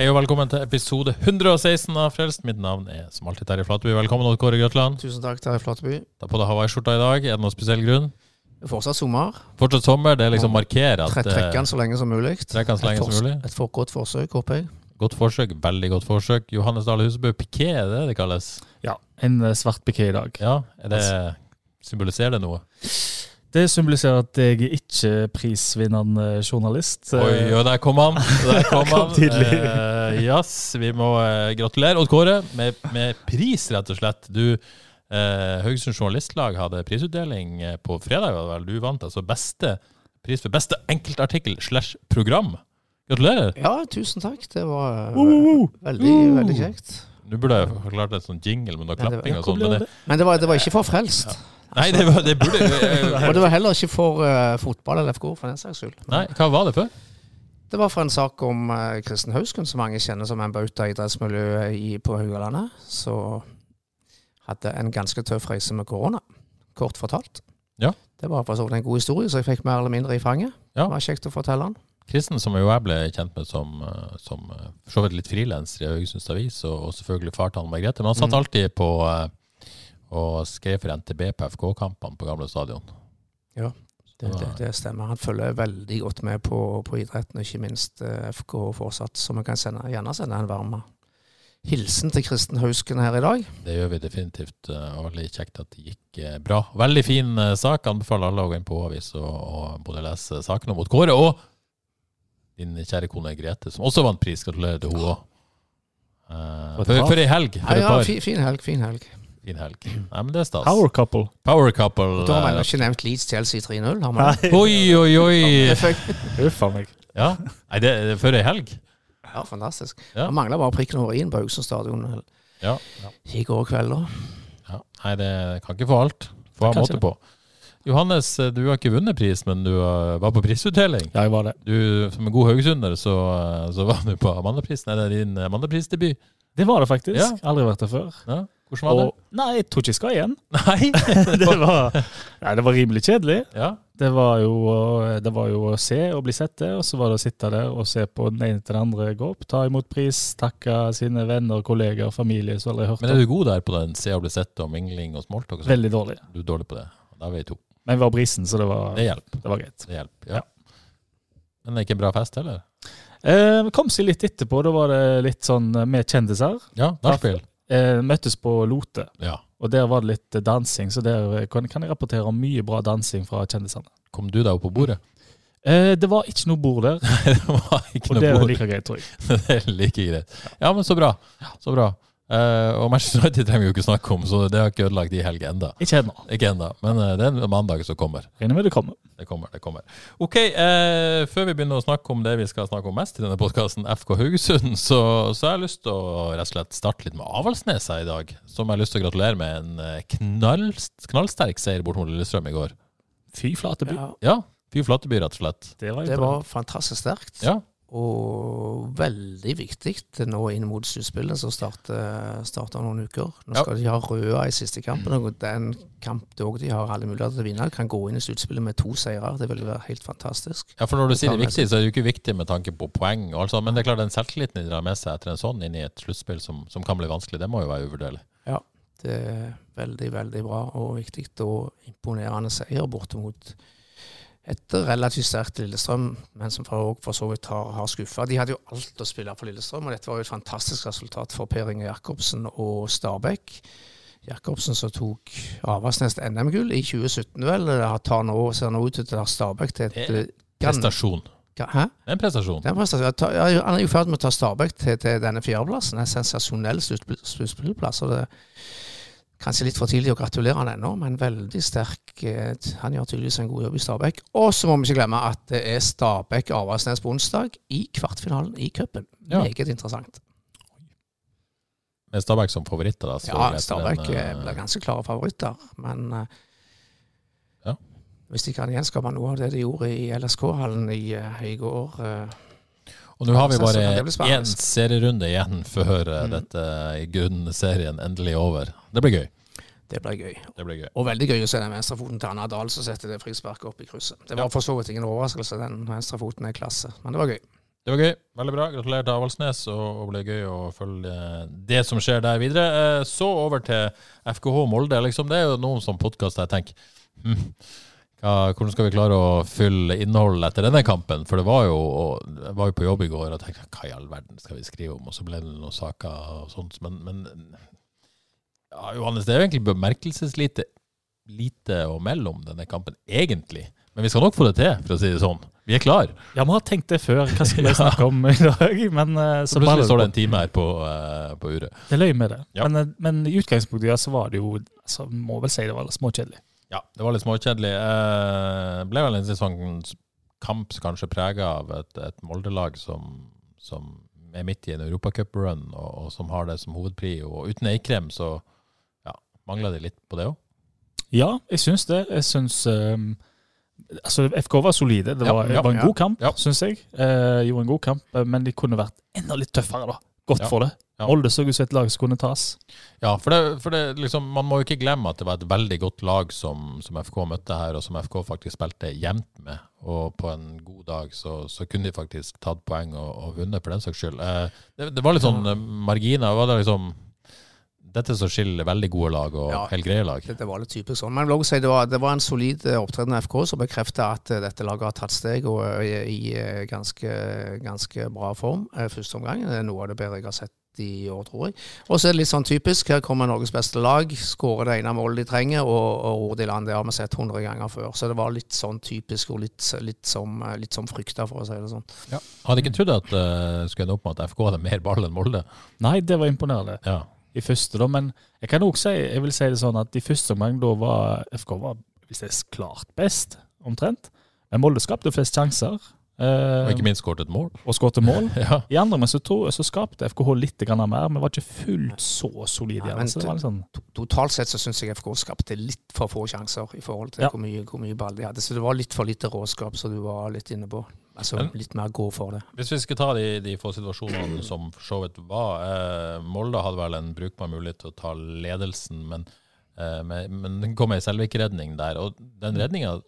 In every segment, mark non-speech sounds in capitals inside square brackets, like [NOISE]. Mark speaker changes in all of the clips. Speaker 1: Hei og velkommen til episode 116 av Frelst. Mitt navn er som alltid Terje Flateby. Velkommen, Odd Kåre Grøtland.
Speaker 2: Tusen takk, Terje Flateby.
Speaker 1: Ta på deg hawaiiskjorta i dag. Er det noen spesiell grunn?
Speaker 2: Fortsatt sommer.
Speaker 1: Fortsatt sommer. Det er liksom markerer at
Speaker 2: Tre- Trekk den
Speaker 1: eh,
Speaker 2: så lenge som mulig.
Speaker 1: Trekk den så lenge
Speaker 2: Et
Speaker 1: som
Speaker 2: fors-
Speaker 1: mulig.
Speaker 2: Et for godt forsøk, håper jeg.
Speaker 1: eh, Godt forsøk. Veldig godt forsøk. Johannes Dale Husebø Piqué, er det det kalles?
Speaker 3: Ja, en eh, svart piké i dag.
Speaker 1: Ja, er det Symboliserer det noe?
Speaker 3: Det symboliserer at jeg er ikke prisvinnende journalist.
Speaker 1: Oi,
Speaker 3: Eh,
Speaker 1: og der kom han! Der kom
Speaker 3: kom
Speaker 1: han.
Speaker 3: tidlig.
Speaker 1: Eh, Yes, vi må eh, gratulere Odd Kåre med, med pris, rett og slett. Du, eh, Haugesund Journalistlag hadde prisutdeling eh, på fredag, var det vel? Du vant altså beste pris for beste enkeltartikkel slash program. Gratulerer!
Speaker 2: Ja, tusen takk. Det var eh, veldig, veldig kjekt.
Speaker 1: Nå burde jeg forklart en sånn jingle med noe
Speaker 2: Ja, det-
Speaker 1: klapping og sånn. Men det,
Speaker 2: Men det var, det var ikke for frelst.
Speaker 1: nei, det, var- det burde
Speaker 2: [LAUGHS] Og det var heller ikke for eh, fotball eller FK, for den saks skyld.
Speaker 1: Nei, hva var det for?
Speaker 2: Det var for en sak om eh, Kristen Hauskund, som mange kjenner som en bauta i idrettsmiljøet i, på Haugalandet. Så hadde en ganske tøff reise med korona, kort fortalt.
Speaker 1: Ja.
Speaker 2: Det var for så vidt en god historie, så jeg fikk mer eller mindre i fanget.
Speaker 1: Ja.
Speaker 2: Det var kjekt å fortelle den.
Speaker 1: Kristen, som jo jeg ble kjent med som, eh, som eh, for så vidt litt frilanser i Haugesunds Avis, og, og selvfølgelig far til Anne Margrethe, men han satt
Speaker 2: Mm.
Speaker 1: alltid på eh, og skrev for NTB på FK-kampene på gamle stadion.
Speaker 2: Det, det, det stemmer. Han følger veldig godt med på, på idretten, og ikke minst eh, FK fortsatt, så vi kan sende, gjerne sende en varm hilsen til Kristen Hausken her i dag.
Speaker 1: Det gjør vi definitivt, eh, og veldig kjekt at det gikk eh, bra. Veldig fin eh, sak. Anbefaler alle å gå inn på Avis og, og både lese sakene mot Kåre og din kjære kone Grete, som også vant pris. Gratulerer til henne òg.
Speaker 3: For et
Speaker 1: Før
Speaker 3: par.
Speaker 1: før ei helg.
Speaker 2: Ja,
Speaker 1: For et
Speaker 2: ja,
Speaker 1: par.
Speaker 2: fi, fin helg, fin helg.
Speaker 1: Fin helg. Nei, men det er stas.
Speaker 3: Power couple.
Speaker 1: Power couple.
Speaker 2: Da har vi
Speaker 1: eh,
Speaker 2: ennå ikke nevnt Leeds Chelsea 3-0, har vi det?
Speaker 1: [LAUGHS] Oi, oi, oi!
Speaker 3: Huff a meg.
Speaker 1: Ja. Nei, det er før ei helg.
Speaker 2: Ja, fantastisk.
Speaker 1: Ja.
Speaker 2: Det mangler bare prikken over i-en på Haugesund stadion eh,
Speaker 1: Ja.
Speaker 2: i går kveld, da.
Speaker 1: ja. Nei, det kan ikke få alt. Få ha
Speaker 3: Kan
Speaker 1: måte
Speaker 3: ikke det.
Speaker 1: på. Johannes, eh, du har ikke vunnet pris, men du eh, var på prisutdeling.
Speaker 3: Ja, jeg var det.
Speaker 1: Du, som en god haugesunder, så, eh, så var du på Amandaprisen. Er det din eh, Amandaprisdebut?
Speaker 3: Det var det faktisk.
Speaker 1: Ja.
Speaker 3: Aldri vært der før.
Speaker 1: Ja. Hvordan var det?
Speaker 3: Og, nei, jeg tror ikke jeg skal
Speaker 1: [LAUGHS]
Speaker 3: igjen. [LAUGHS]
Speaker 1: Nei?
Speaker 3: Det var, nei, det var rimelig kjedelig.
Speaker 1: Ja.
Speaker 3: Det var, jo, å- det var jo å se og bli sett det, og så var det å sitte der og se på den ene til den andre gå opp, ta imot pris, takke sine venner, kolleger og familie som aldri har hørt
Speaker 1: Men er
Speaker 3: om.
Speaker 1: du god der på den se og bli sett og mingling og smalltalk? og sånt?
Speaker 3: Veldig dårlig.
Speaker 1: Du er dårlig på det. Da er vi to.
Speaker 3: Men vi var brisen, så det var,
Speaker 1: Det hjelper.
Speaker 3: det var greit.
Speaker 1: Det hjelper. Ja. Men det er ikke en bra fest heller?
Speaker 3: Eh, vi kom seg litt etterpå. Da var det litt sånn eh, med kjendiser.
Speaker 1: Ja. Nachspiel?
Speaker 3: Eh, møttes på Lote,
Speaker 1: Ja.
Speaker 3: og der var det litt eh, dansing, så der eh, kan, kan jeg rapportere om mye bra dansing fra kjendisene.
Speaker 1: Kom du deg opp på bordet?
Speaker 3: [LAUGHS]
Speaker 1: [LAUGHS]
Speaker 3: Eh, det var ikke noe bord der,
Speaker 1: Nei, det var
Speaker 3: og
Speaker 1: ikke noe
Speaker 3: det er
Speaker 1: bord.
Speaker 3: like greit, tror jeg.
Speaker 1: [LAUGHS] Det er like greit. Ja, men så bra. Så bra. Eh, og Manchester United trenger vi jo ikke snakke om, så det har ikke ødelagt i helg enda.
Speaker 3: Ikke ennå.
Speaker 1: Ikke enda, men eh, det er en mandag som kommer.
Speaker 3: Regner med det kommer.
Speaker 1: Det kommer, det kommer. Ok, eh, før vi begynner å snakke om det vi skal snakke om mest i denne podkasten, FK Haugesund, så, så har jeg lyst til å rett og slett starte litt med Avaldsnes her i dag. Som jeg har lyst til å gratulere med en eh, knall, knallsterk seier bort mot Lillestrøm i går.
Speaker 3: Fy flate by.
Speaker 2: Ja,
Speaker 1: Ja, fy Flateby, rett og slett.
Speaker 3: Det var,
Speaker 2: det
Speaker 3: imponerende.
Speaker 2: var fantastisk sterkt.
Speaker 1: Ja.
Speaker 2: Og veldig viktig nå inn mot sluttspillet, som starter, starter om noen uker. Nå
Speaker 1: Ja.
Speaker 2: skal de ha Røa i siste kampen, og den kamp det også de har alle muligheter til å vinne, kan gå inn i sluttspillet med to seire. Det ville være helt fantastisk.
Speaker 1: Ja, for når du sier det er
Speaker 2: med
Speaker 1: viktig, så er det jo ikke viktig med tanke på poeng, og alt sånt, men det er klart den selvtilliten de drar med seg etter en sånn inn i et sluttspill som, som kan bli vanskelig, det må jo være uvurderlig.
Speaker 2: Det er veldig, veldig bra og viktig og imponerende seier bortimot et relativt sterkt Lillestrøm, men som for, for så vidt har, har skuffa. De hadde jo alt å spille for Lillestrøm, og dette var jo et fantastisk resultat for Per Inge Jacobsen og Stabæk. Jacobsen som tok Avaldsnes NM-gull i 2017, vel, har- tar nå, ser nå ut til å ta Stabæk til et
Speaker 1: Det
Speaker 2: gan-
Speaker 1: Prestasjon.
Speaker 2: ga- Hæ?
Speaker 1: Det er en prestasjon.
Speaker 2: Det er prestasjon. Jeg tar- ja, Han er jo i ferd med å ta Stabæk til, til denne fjerdeplassen. En sensasjonell sluttspill- sluttspillplass. og det- Kanskje litt for tidlig å gratulere han ennå, men veldig sterk. eh, Han gjør tydeligvis en god jobb i Stabæk. Og så må vi ikke glemme at det er Stabæk-Avaldsnes på onsdag i kvartfinalen i cupen.
Speaker 1: Ja.
Speaker 2: Meget interessant.
Speaker 1: Med Stabæk som favoritter, da. så
Speaker 2: Ja,
Speaker 1: vet
Speaker 2: Stabæk
Speaker 1: den,
Speaker 2: eh,
Speaker 1: eh,
Speaker 2: blir ganske klare favoritter, men eh,
Speaker 1: Ja.
Speaker 2: hvis de kan gjenskape noe av det de gjorde i LSK-hallen i, eh, i går eh,
Speaker 1: Og nå har vi
Speaker 2: Så- så kan det bli
Speaker 1: bare
Speaker 2: spennende.
Speaker 1: én serierunde igjen før eh,
Speaker 2: Mm.
Speaker 1: dette grunnserien endelig er over. Det blir gøy.
Speaker 2: Det blir gøy.
Speaker 1: Det blir gøy.
Speaker 2: Og veldig gøy å se den venstrefoten til Anna Dahl som setter det frisparket opp i krysset. Det var for så vidt ingen overraskelse, den venstrefoten er klasse, men det var gøy.
Speaker 1: Det var gøy. Veldig bra. Gratulerer til Avaldsnes, og, og det blir gøy å følge eh, det som skjer der videre. Eh, Så over til FKH Molde. Liksom, det er jo noen sånn podkast jeg tenker hm, hva, hvordan skal vi klare å fylle innholdet etter denne kampen? For det var jo, og, jeg var jo på jobb i går og tenkte hva i all verden skal vi skrive om? Og så ble det noen saker og sånt. Men, men ja, Johannes, det er jo egentlig bemerkelseslite lite å melde om denne kampen, egentlig. Men vi skal nok få det til, for å si det sånn. Vi er klar.
Speaker 3: Ja, vi har tenkt det før, hva skal
Speaker 1: [LAUGHS]
Speaker 3: vi snakke om i dag? Men eh,
Speaker 1: Så
Speaker 3: så
Speaker 1: plutselig
Speaker 3: bare
Speaker 1: står det en time her på, eh, på uret.
Speaker 3: Det løy med det.
Speaker 1: Ja.
Speaker 3: Men, eh, men i utgangspunktet ja, så var det jo altså, Må vel si det var småkjedelig.
Speaker 1: Ja, det var litt småkjedelig. Eh, ble vel en sånn kamp som kanskje prega av et, et Molde-lag som, som er midt i en europacup-run, og, og som har det som hovedprio. Og uten Eikrem så ja, mangla de litt på det òg.
Speaker 3: Ja, jeg syns det. Jeg syns ehm, Altså, FK var solide. Det
Speaker 1: Ja,
Speaker 3: var,
Speaker 1: ja,
Speaker 3: var en
Speaker 2: ja.
Speaker 3: god kamp,
Speaker 1: Ja.
Speaker 3: syns jeg. Eh, gjorde en god kamp, eh, men de kunne vært enda litt tøffere, da. Godt
Speaker 1: Ja,
Speaker 3: for det.
Speaker 1: ja.
Speaker 3: Molde så ut som et lag som kunne tas.
Speaker 1: Ja, for, det, for det, liksom, man må jo ikke glemme at det var et veldig godt lag som, som FK møtte her, og som FK faktisk spilte jevnt med. Og på en god dag så, så kunne de faktisk tatt poeng og, og vunnet, for den saks skyld. Eh, det, det var litt sånn eh, marginer. Var det liksom dette som skiller veldig gode lag og
Speaker 2: Ja.
Speaker 1: helt greie lag?
Speaker 2: Det, det var litt typisk sånn. Men jeg vil også si det var, det var en solid eh, opptreden av FK som bekreftet at eh, dette laget har tatt steg og er i, i eh, ganske, ganske bra form eh, første omgang. Det er noe av det bedre jeg har sett i år, tror jeg. Og så er det litt sånn typisk. Her kommer Norges beste lag, skårer det ene målet de trenger og, og ror det i land. Det har vi sett 100 ganger før. Så det var litt sånn typisk og litt, litt, som, litt som frykta, for å si det sånn.
Speaker 1: Hadde ikke trodd at eh, skulle ende opp med at FK hadde mer ball enn Molde.
Speaker 3: Nei, det var imponerende
Speaker 1: Ja.
Speaker 3: i første, da. Men jeg kan også si, jeg vil si det sånn at i første omgang da var FK var, hvis det er klart best, omtrent. Men Molde skapte flest sjanser. eh,
Speaker 1: Og ikke minst skåret et mål.
Speaker 3: og skåret mål.
Speaker 1: [LAUGHS] Ja.
Speaker 3: I andre omgang så, tror- så skapte FKH litt grann mer, men var ikke fullt så solid.
Speaker 2: Nei,
Speaker 3: igjen,
Speaker 2: men
Speaker 3: så det var litt sånn,
Speaker 2: to- totalt sett så syns jeg FK skapte litt for få sjanser i forhold til
Speaker 3: Ja.
Speaker 2: hvor, mye, hvor mye ball de hadde. Så det var litt for lite råskap, som du var litt inne på. Altså
Speaker 1: Men-
Speaker 2: litt mer gå for det.
Speaker 1: Hvis vi skal ta de, de få situasjonene som for så vidt var eh, Molde hadde vel en brukbar mulighet til å ta ledelsen, men, eh, med, men det kom ei Selvik-redning der. Og den redninga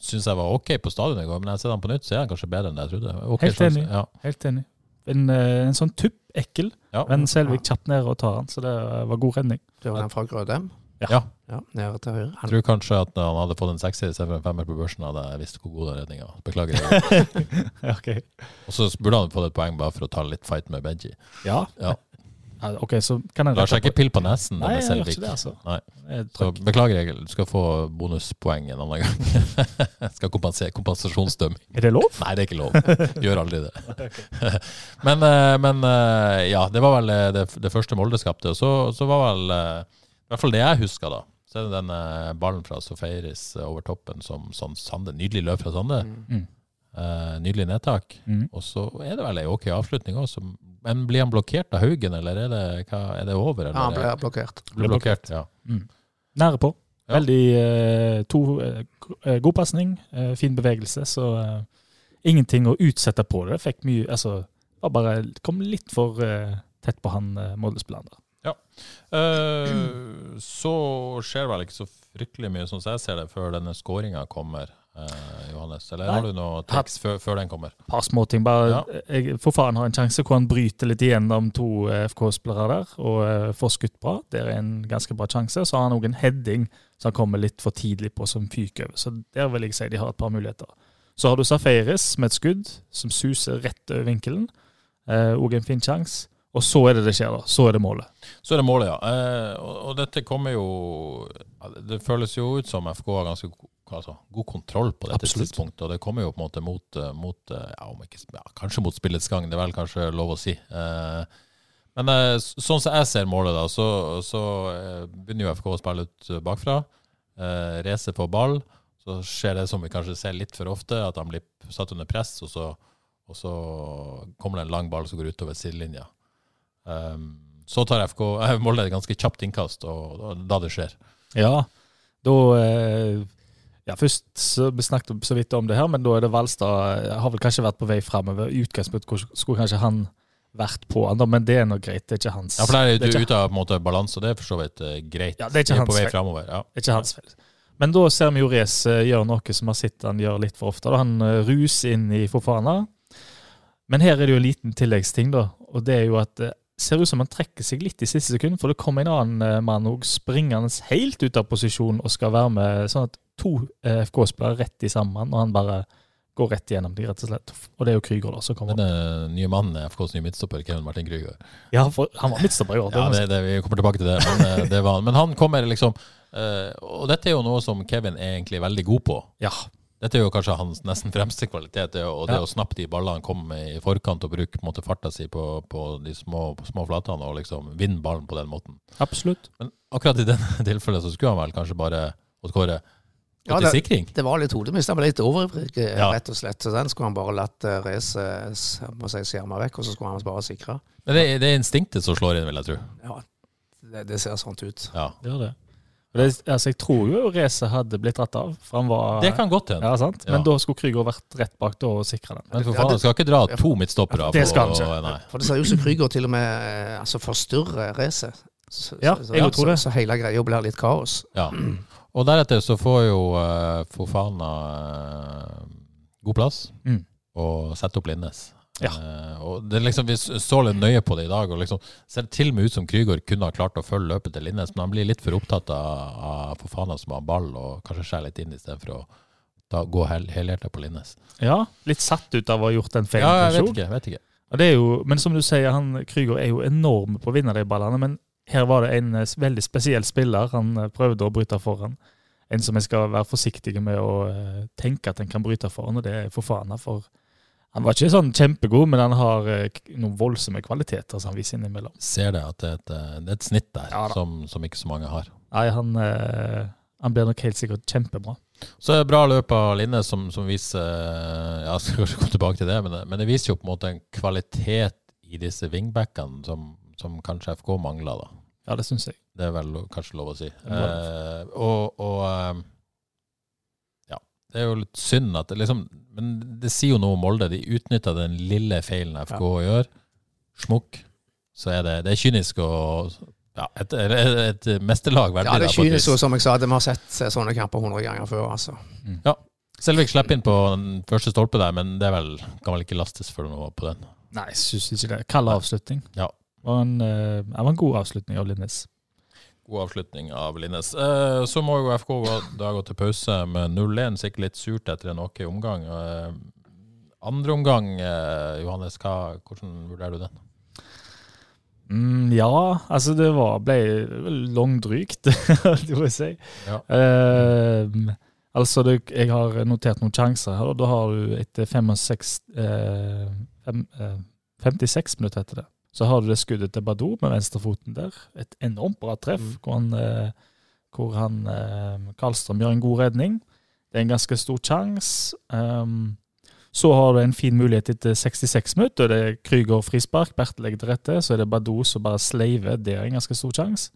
Speaker 1: syns jeg var OK på stadion i går, men når jeg ser den på nytt, så er den kanskje bedre enn det jeg trodde. Ok
Speaker 3: Helt
Speaker 1: sjanse.
Speaker 3: enig.
Speaker 1: Ja.
Speaker 3: helt enig. En, eh, en sånn tupp, ekkel,
Speaker 1: Ja.
Speaker 3: men Selvik kjapt ned og tar han, så det eh, var god redning.
Speaker 2: Det var den fra Grødem.
Speaker 3: Ja.
Speaker 1: Ja.
Speaker 2: ja nede til høyre.
Speaker 1: Jeg
Speaker 2: Han,
Speaker 1: tror kanskje at han hadde fått en sekser istedenfor en femmer på børsen, hadde jeg visst hvor god den redninga var. Beklager.
Speaker 3: [LAUGHS] Ok.
Speaker 1: Og så burde han fått et poeng bare for å ta litt fight med Benji.
Speaker 3: Ja.
Speaker 1: Ja.
Speaker 3: Ja, Ok, så kan jeg
Speaker 1: Lar seg
Speaker 3: rette
Speaker 1: ikke pille på nesen
Speaker 3: Nei,
Speaker 1: med
Speaker 3: jeg gjør
Speaker 1: Selvik.
Speaker 3: ikke det, altså.
Speaker 1: Nei.
Speaker 3: Jeg
Speaker 1: Så
Speaker 3: trykker.
Speaker 1: beklager, Egil. Du skal få bonuspoeng en annen gang. [LAUGHS] Jeg skal kompensere kompensasjonsdømming.
Speaker 3: Er det lov?
Speaker 1: Nei, det er ikke lov. Gjør aldri det. [LAUGHS] Men, eh, men eh, ja, det var vel eh, det, det første Molde skapte. Og så, så var vel eh, I hvert fall det jeg husker, da. Så er det den eh, ballen fra Soferis eh, over toppen som, som Sande Nydelig løp fra Sande.
Speaker 3: Mm.
Speaker 1: Eh, nydelig nedtak.
Speaker 3: Mm.
Speaker 1: Og så er det vel ei ok avslutning òg. Men blir han blokkert av Haugen, eller er det, hva, er det over? Eller?
Speaker 2: ja, han ble blokkert.
Speaker 1: Blir blokkert. Ja.
Speaker 3: Nære på.
Speaker 1: Ja.
Speaker 3: Veldig eh, to, eh, go- eh, god pasning, eh, fin bevegelse, så eh, ingenting å utsette på det. Fikk mye, altså, var bare kom litt for eh, tett på han eh, Molde-spilleren der.
Speaker 1: Eh, så skjer vel ikke så fryktelig mye sånn som jeg ser det, før denne skåringa kommer, eh, Johannes. Eller
Speaker 3: Nei.
Speaker 1: har du noe triks før, før den kommer?
Speaker 3: par småting. Bare, eh,
Speaker 1: Ja.
Speaker 3: jeg, for faen har en sjanse hvor han bryter litt igjennom to eh, FK-spillere der, og eh, får skutt bra. Det er en ganske bra sjanse. Så har han òg en heading som han kommer litt for tidlig på, som fyker over. Så der vil jeg si de har et par muligheter. Så har du Safaris med et skudd som suser rett over vinkelen. Òg en fin sjanse. Og så er det det skjer, da. Så er det målet.
Speaker 1: Så er det målet, ja. Eh, og, og dette kommer jo ja, Det føles jo ut som FK har ganske go- altså, god kontroll på dette
Speaker 3: Absolutt.
Speaker 1: tidspunktet, og det kommer jo på en måte mot, eh, mot eh, ja, om ikke, sp- ja, Kanskje mot spillets gang, det er vel kanskje lov å si. Eh, Men eh, s- sånn som jeg ser målet, da, så, så eh, begynner jo FK å spille ut eh, bakfra. Eh, race på ball. Så skjer det som vi kanskje ser litt for ofte, at han blir p- satt under press, og så, og så kommer det en lang ball som går utover sidelinja. Um, så tar FK eh, Molde et ganske kjapt innkast, og, og da det skjer.
Speaker 3: Ja, da eh, ja, Først så vi snakket så vidt om det her, men da er det Valstad eh, har vel kanskje vært på vei framover. I utgangspunktet kos- skulle kanskje han vært på han, da, men det er nå greit. Det er ikke hans
Speaker 1: Ja, for der er
Speaker 3: det
Speaker 1: du
Speaker 3: er ikke,
Speaker 1: ute av på en måte, balanse, og det er for så vidt eh, greit.
Speaker 3: Ja, det er ikke
Speaker 1: Vi
Speaker 3: hans
Speaker 1: på vei
Speaker 3: feil.
Speaker 1: fremover. Ja.
Speaker 3: det er ikke hans feil. Men da ser vi jo Rez eh, gjøre noe som vi har sett han gjør litt for ofte. Da. Han eh, ruser inn i Fofana. Men her er det jo en liten tilleggsting, da. Og det er jo at det ser ut som han trekker seg litt i siste sekund, for det kommer en annen eh, mann òg springende helt ut av posisjon og skal være med. Sånn at to eh, FK-spillere rett i samme mann, og han bare går rett gjennom de, rett og slett. Og det er jo Krygård da, som kommer.
Speaker 1: Denne eh, nye mannen er FKs nye midtstopper, Kevin Martin Krüger.
Speaker 3: eh, Ja, for han var midtstopper i år. det
Speaker 1: Ja,
Speaker 3: må jeg si.
Speaker 1: det, det, vi kommer tilbake til det, men eh, det var han. Men han kommer liksom eh, Og dette er jo noe som Kevin er egentlig veldig god på.
Speaker 3: Ja.
Speaker 1: Dette er jo kanskje hans nesten fremste kvalitet, det, å- og det
Speaker 3: Ja.
Speaker 1: å snappe de ballene, komme med i forkant og bruke på en måte, farta si på, på de små, på små flatene og liksom vinne ballen på den måten.
Speaker 3: Absolutt.
Speaker 1: Men akkurat i denne [LAUGHS] tilfellet så skulle han vel kanskje bare Odd Kåre gå
Speaker 2: Ja,
Speaker 1: til
Speaker 2: det-
Speaker 1: sikring?
Speaker 2: Det var litt hodemist. Han var litt overivrig, eh,
Speaker 1: Ja.
Speaker 2: rett og slett. Så den skulle han bare latt eh, race eh, s- må si, skjerme vekk, og så skulle han bare sikre.
Speaker 1: Men det, det er instinktet som slår inn, vil jeg tro.
Speaker 2: Ja, det, det ser sånt ut.
Speaker 1: Ja.
Speaker 3: Det gjør det. Og det altså, jeg tror jo Reze hadde blitt dratt av, for han var
Speaker 1: Det kan godt hende.
Speaker 3: Ja, sant?
Speaker 1: Ja.
Speaker 3: Men da skulle Krygård vært rett bak da og sikra den.
Speaker 1: Men for
Speaker 2: Ja,
Speaker 1: faen,
Speaker 2: det-
Speaker 1: han skal ikke dra to midtstoppere.
Speaker 3: Ja, det
Speaker 1: på-
Speaker 3: skal han ikke.
Speaker 1: Nei.
Speaker 2: For det ser ut som Krüger til og med eh, altså, forstyrrer racet. Så,
Speaker 3: Ja,
Speaker 2: så,
Speaker 3: jeg
Speaker 2: så,
Speaker 3: tror det.
Speaker 2: så hele greia blir litt kaos.
Speaker 1: Ja. [CLEARS THROAT] Og deretter så får jo eh, Fofana eh, god plass
Speaker 3: Mm.
Speaker 1: og setter opp Linnes.
Speaker 3: Ja.
Speaker 1: Eh, og det er liksom, Vi så litt nøye på det i dag. og liksom Ser til og med ut som Krygård kunne ha klart å følge løpet til Linnes, men han blir litt for opptatt av, av Fofana som har ball, og kanskje skjærer litt inn istedenfor å ta, gå hel, helhjertet på Linnes.
Speaker 3: Ja, litt satt ut av å ha gjort den feilen.
Speaker 1: Ja, jeg vet
Speaker 3: kanskje.
Speaker 1: ikke. Jeg vet ikke.
Speaker 3: Og det er jo, men som du sier, han Krüger er jo enorm på å vinne de ballene, men her var det en eh, veldig spesiell spiller han eh, prøvde å bryte foran. En som jeg skal være forsiktig med å eh, tenke at en kan bryte foran, og det er Fofana. For han var ikke sånn kjempegod, men han har eh, k- noen voldsomme kvaliteter som han viser innimellom.
Speaker 1: Ser det at det er et, eh, det er et snitt der
Speaker 3: Ja da.
Speaker 1: som, som ikke så mange har.
Speaker 3: Nei, han, eh, han blir nok helt sikkert kjempebra.
Speaker 1: Så er det bra løp av Linne som, som viser eh, Ja, [LAUGHS] jeg skal kanskje komme tilbake til det, men, eh, men det viser jo på en måte en kvalitet i disse wingbackene som, som kanskje FK mangler, da.
Speaker 3: Ja, det syns jeg.
Speaker 1: Det er vel lo- kanskje lov å si.
Speaker 3: er bra.
Speaker 1: Eh, og og eh, ja, det er jo litt synd at det liksom Men det sier jo noe om Molde. De utnytter den lille feilen FK gjør. Smukk. Så er det, det er kynisk og ja, et, et, et mesterlag verdig.
Speaker 2: Ja, det
Speaker 1: da, på et
Speaker 2: kynisk,
Speaker 1: vis.
Speaker 2: og som jeg sa, det- vi har sett eh, sånne kamper hundre ganger før, altså.
Speaker 1: Selvik slipper inn på den første stolpe der, men det er vel, kan vel ikke lastes for noe på den.
Speaker 3: Nei, jeg syns ikke det. Kald avslutning.
Speaker 1: Ja.
Speaker 3: Og en, eh, det var en god avslutning av Linnes.
Speaker 1: God avslutning av Linnes. Eh, så må jo FK gå, da gå til pause med 0-1, sikkert litt surt etter en ok omgang. Eh, andre omgang, eh, Johannes, hva, hvordan vurderer du den?
Speaker 3: Mm, ja, altså det var, ble vel langdrygt, [LAUGHS] det må jeg si.
Speaker 1: Ja.
Speaker 3: Eh, altså, det, jeg har notert noen sjanser her, og da har du etter fem og seks, eh, fem, eh, 56 minutter etter det, så har du det skuddet til Badou med venstrefoten der. Et enormt bra treff,
Speaker 2: Mm.
Speaker 3: hvor han, eh, hvor han eh, Karlstrøm gjør en god redning. Det er en ganske stor sjanse. Um, så har du en fin mulighet etter 66 minutter. og Det er Krüger frispark, Bertel legger til rette. Så er det Badou som bare sleiver. Det er en ganske stor sjanse.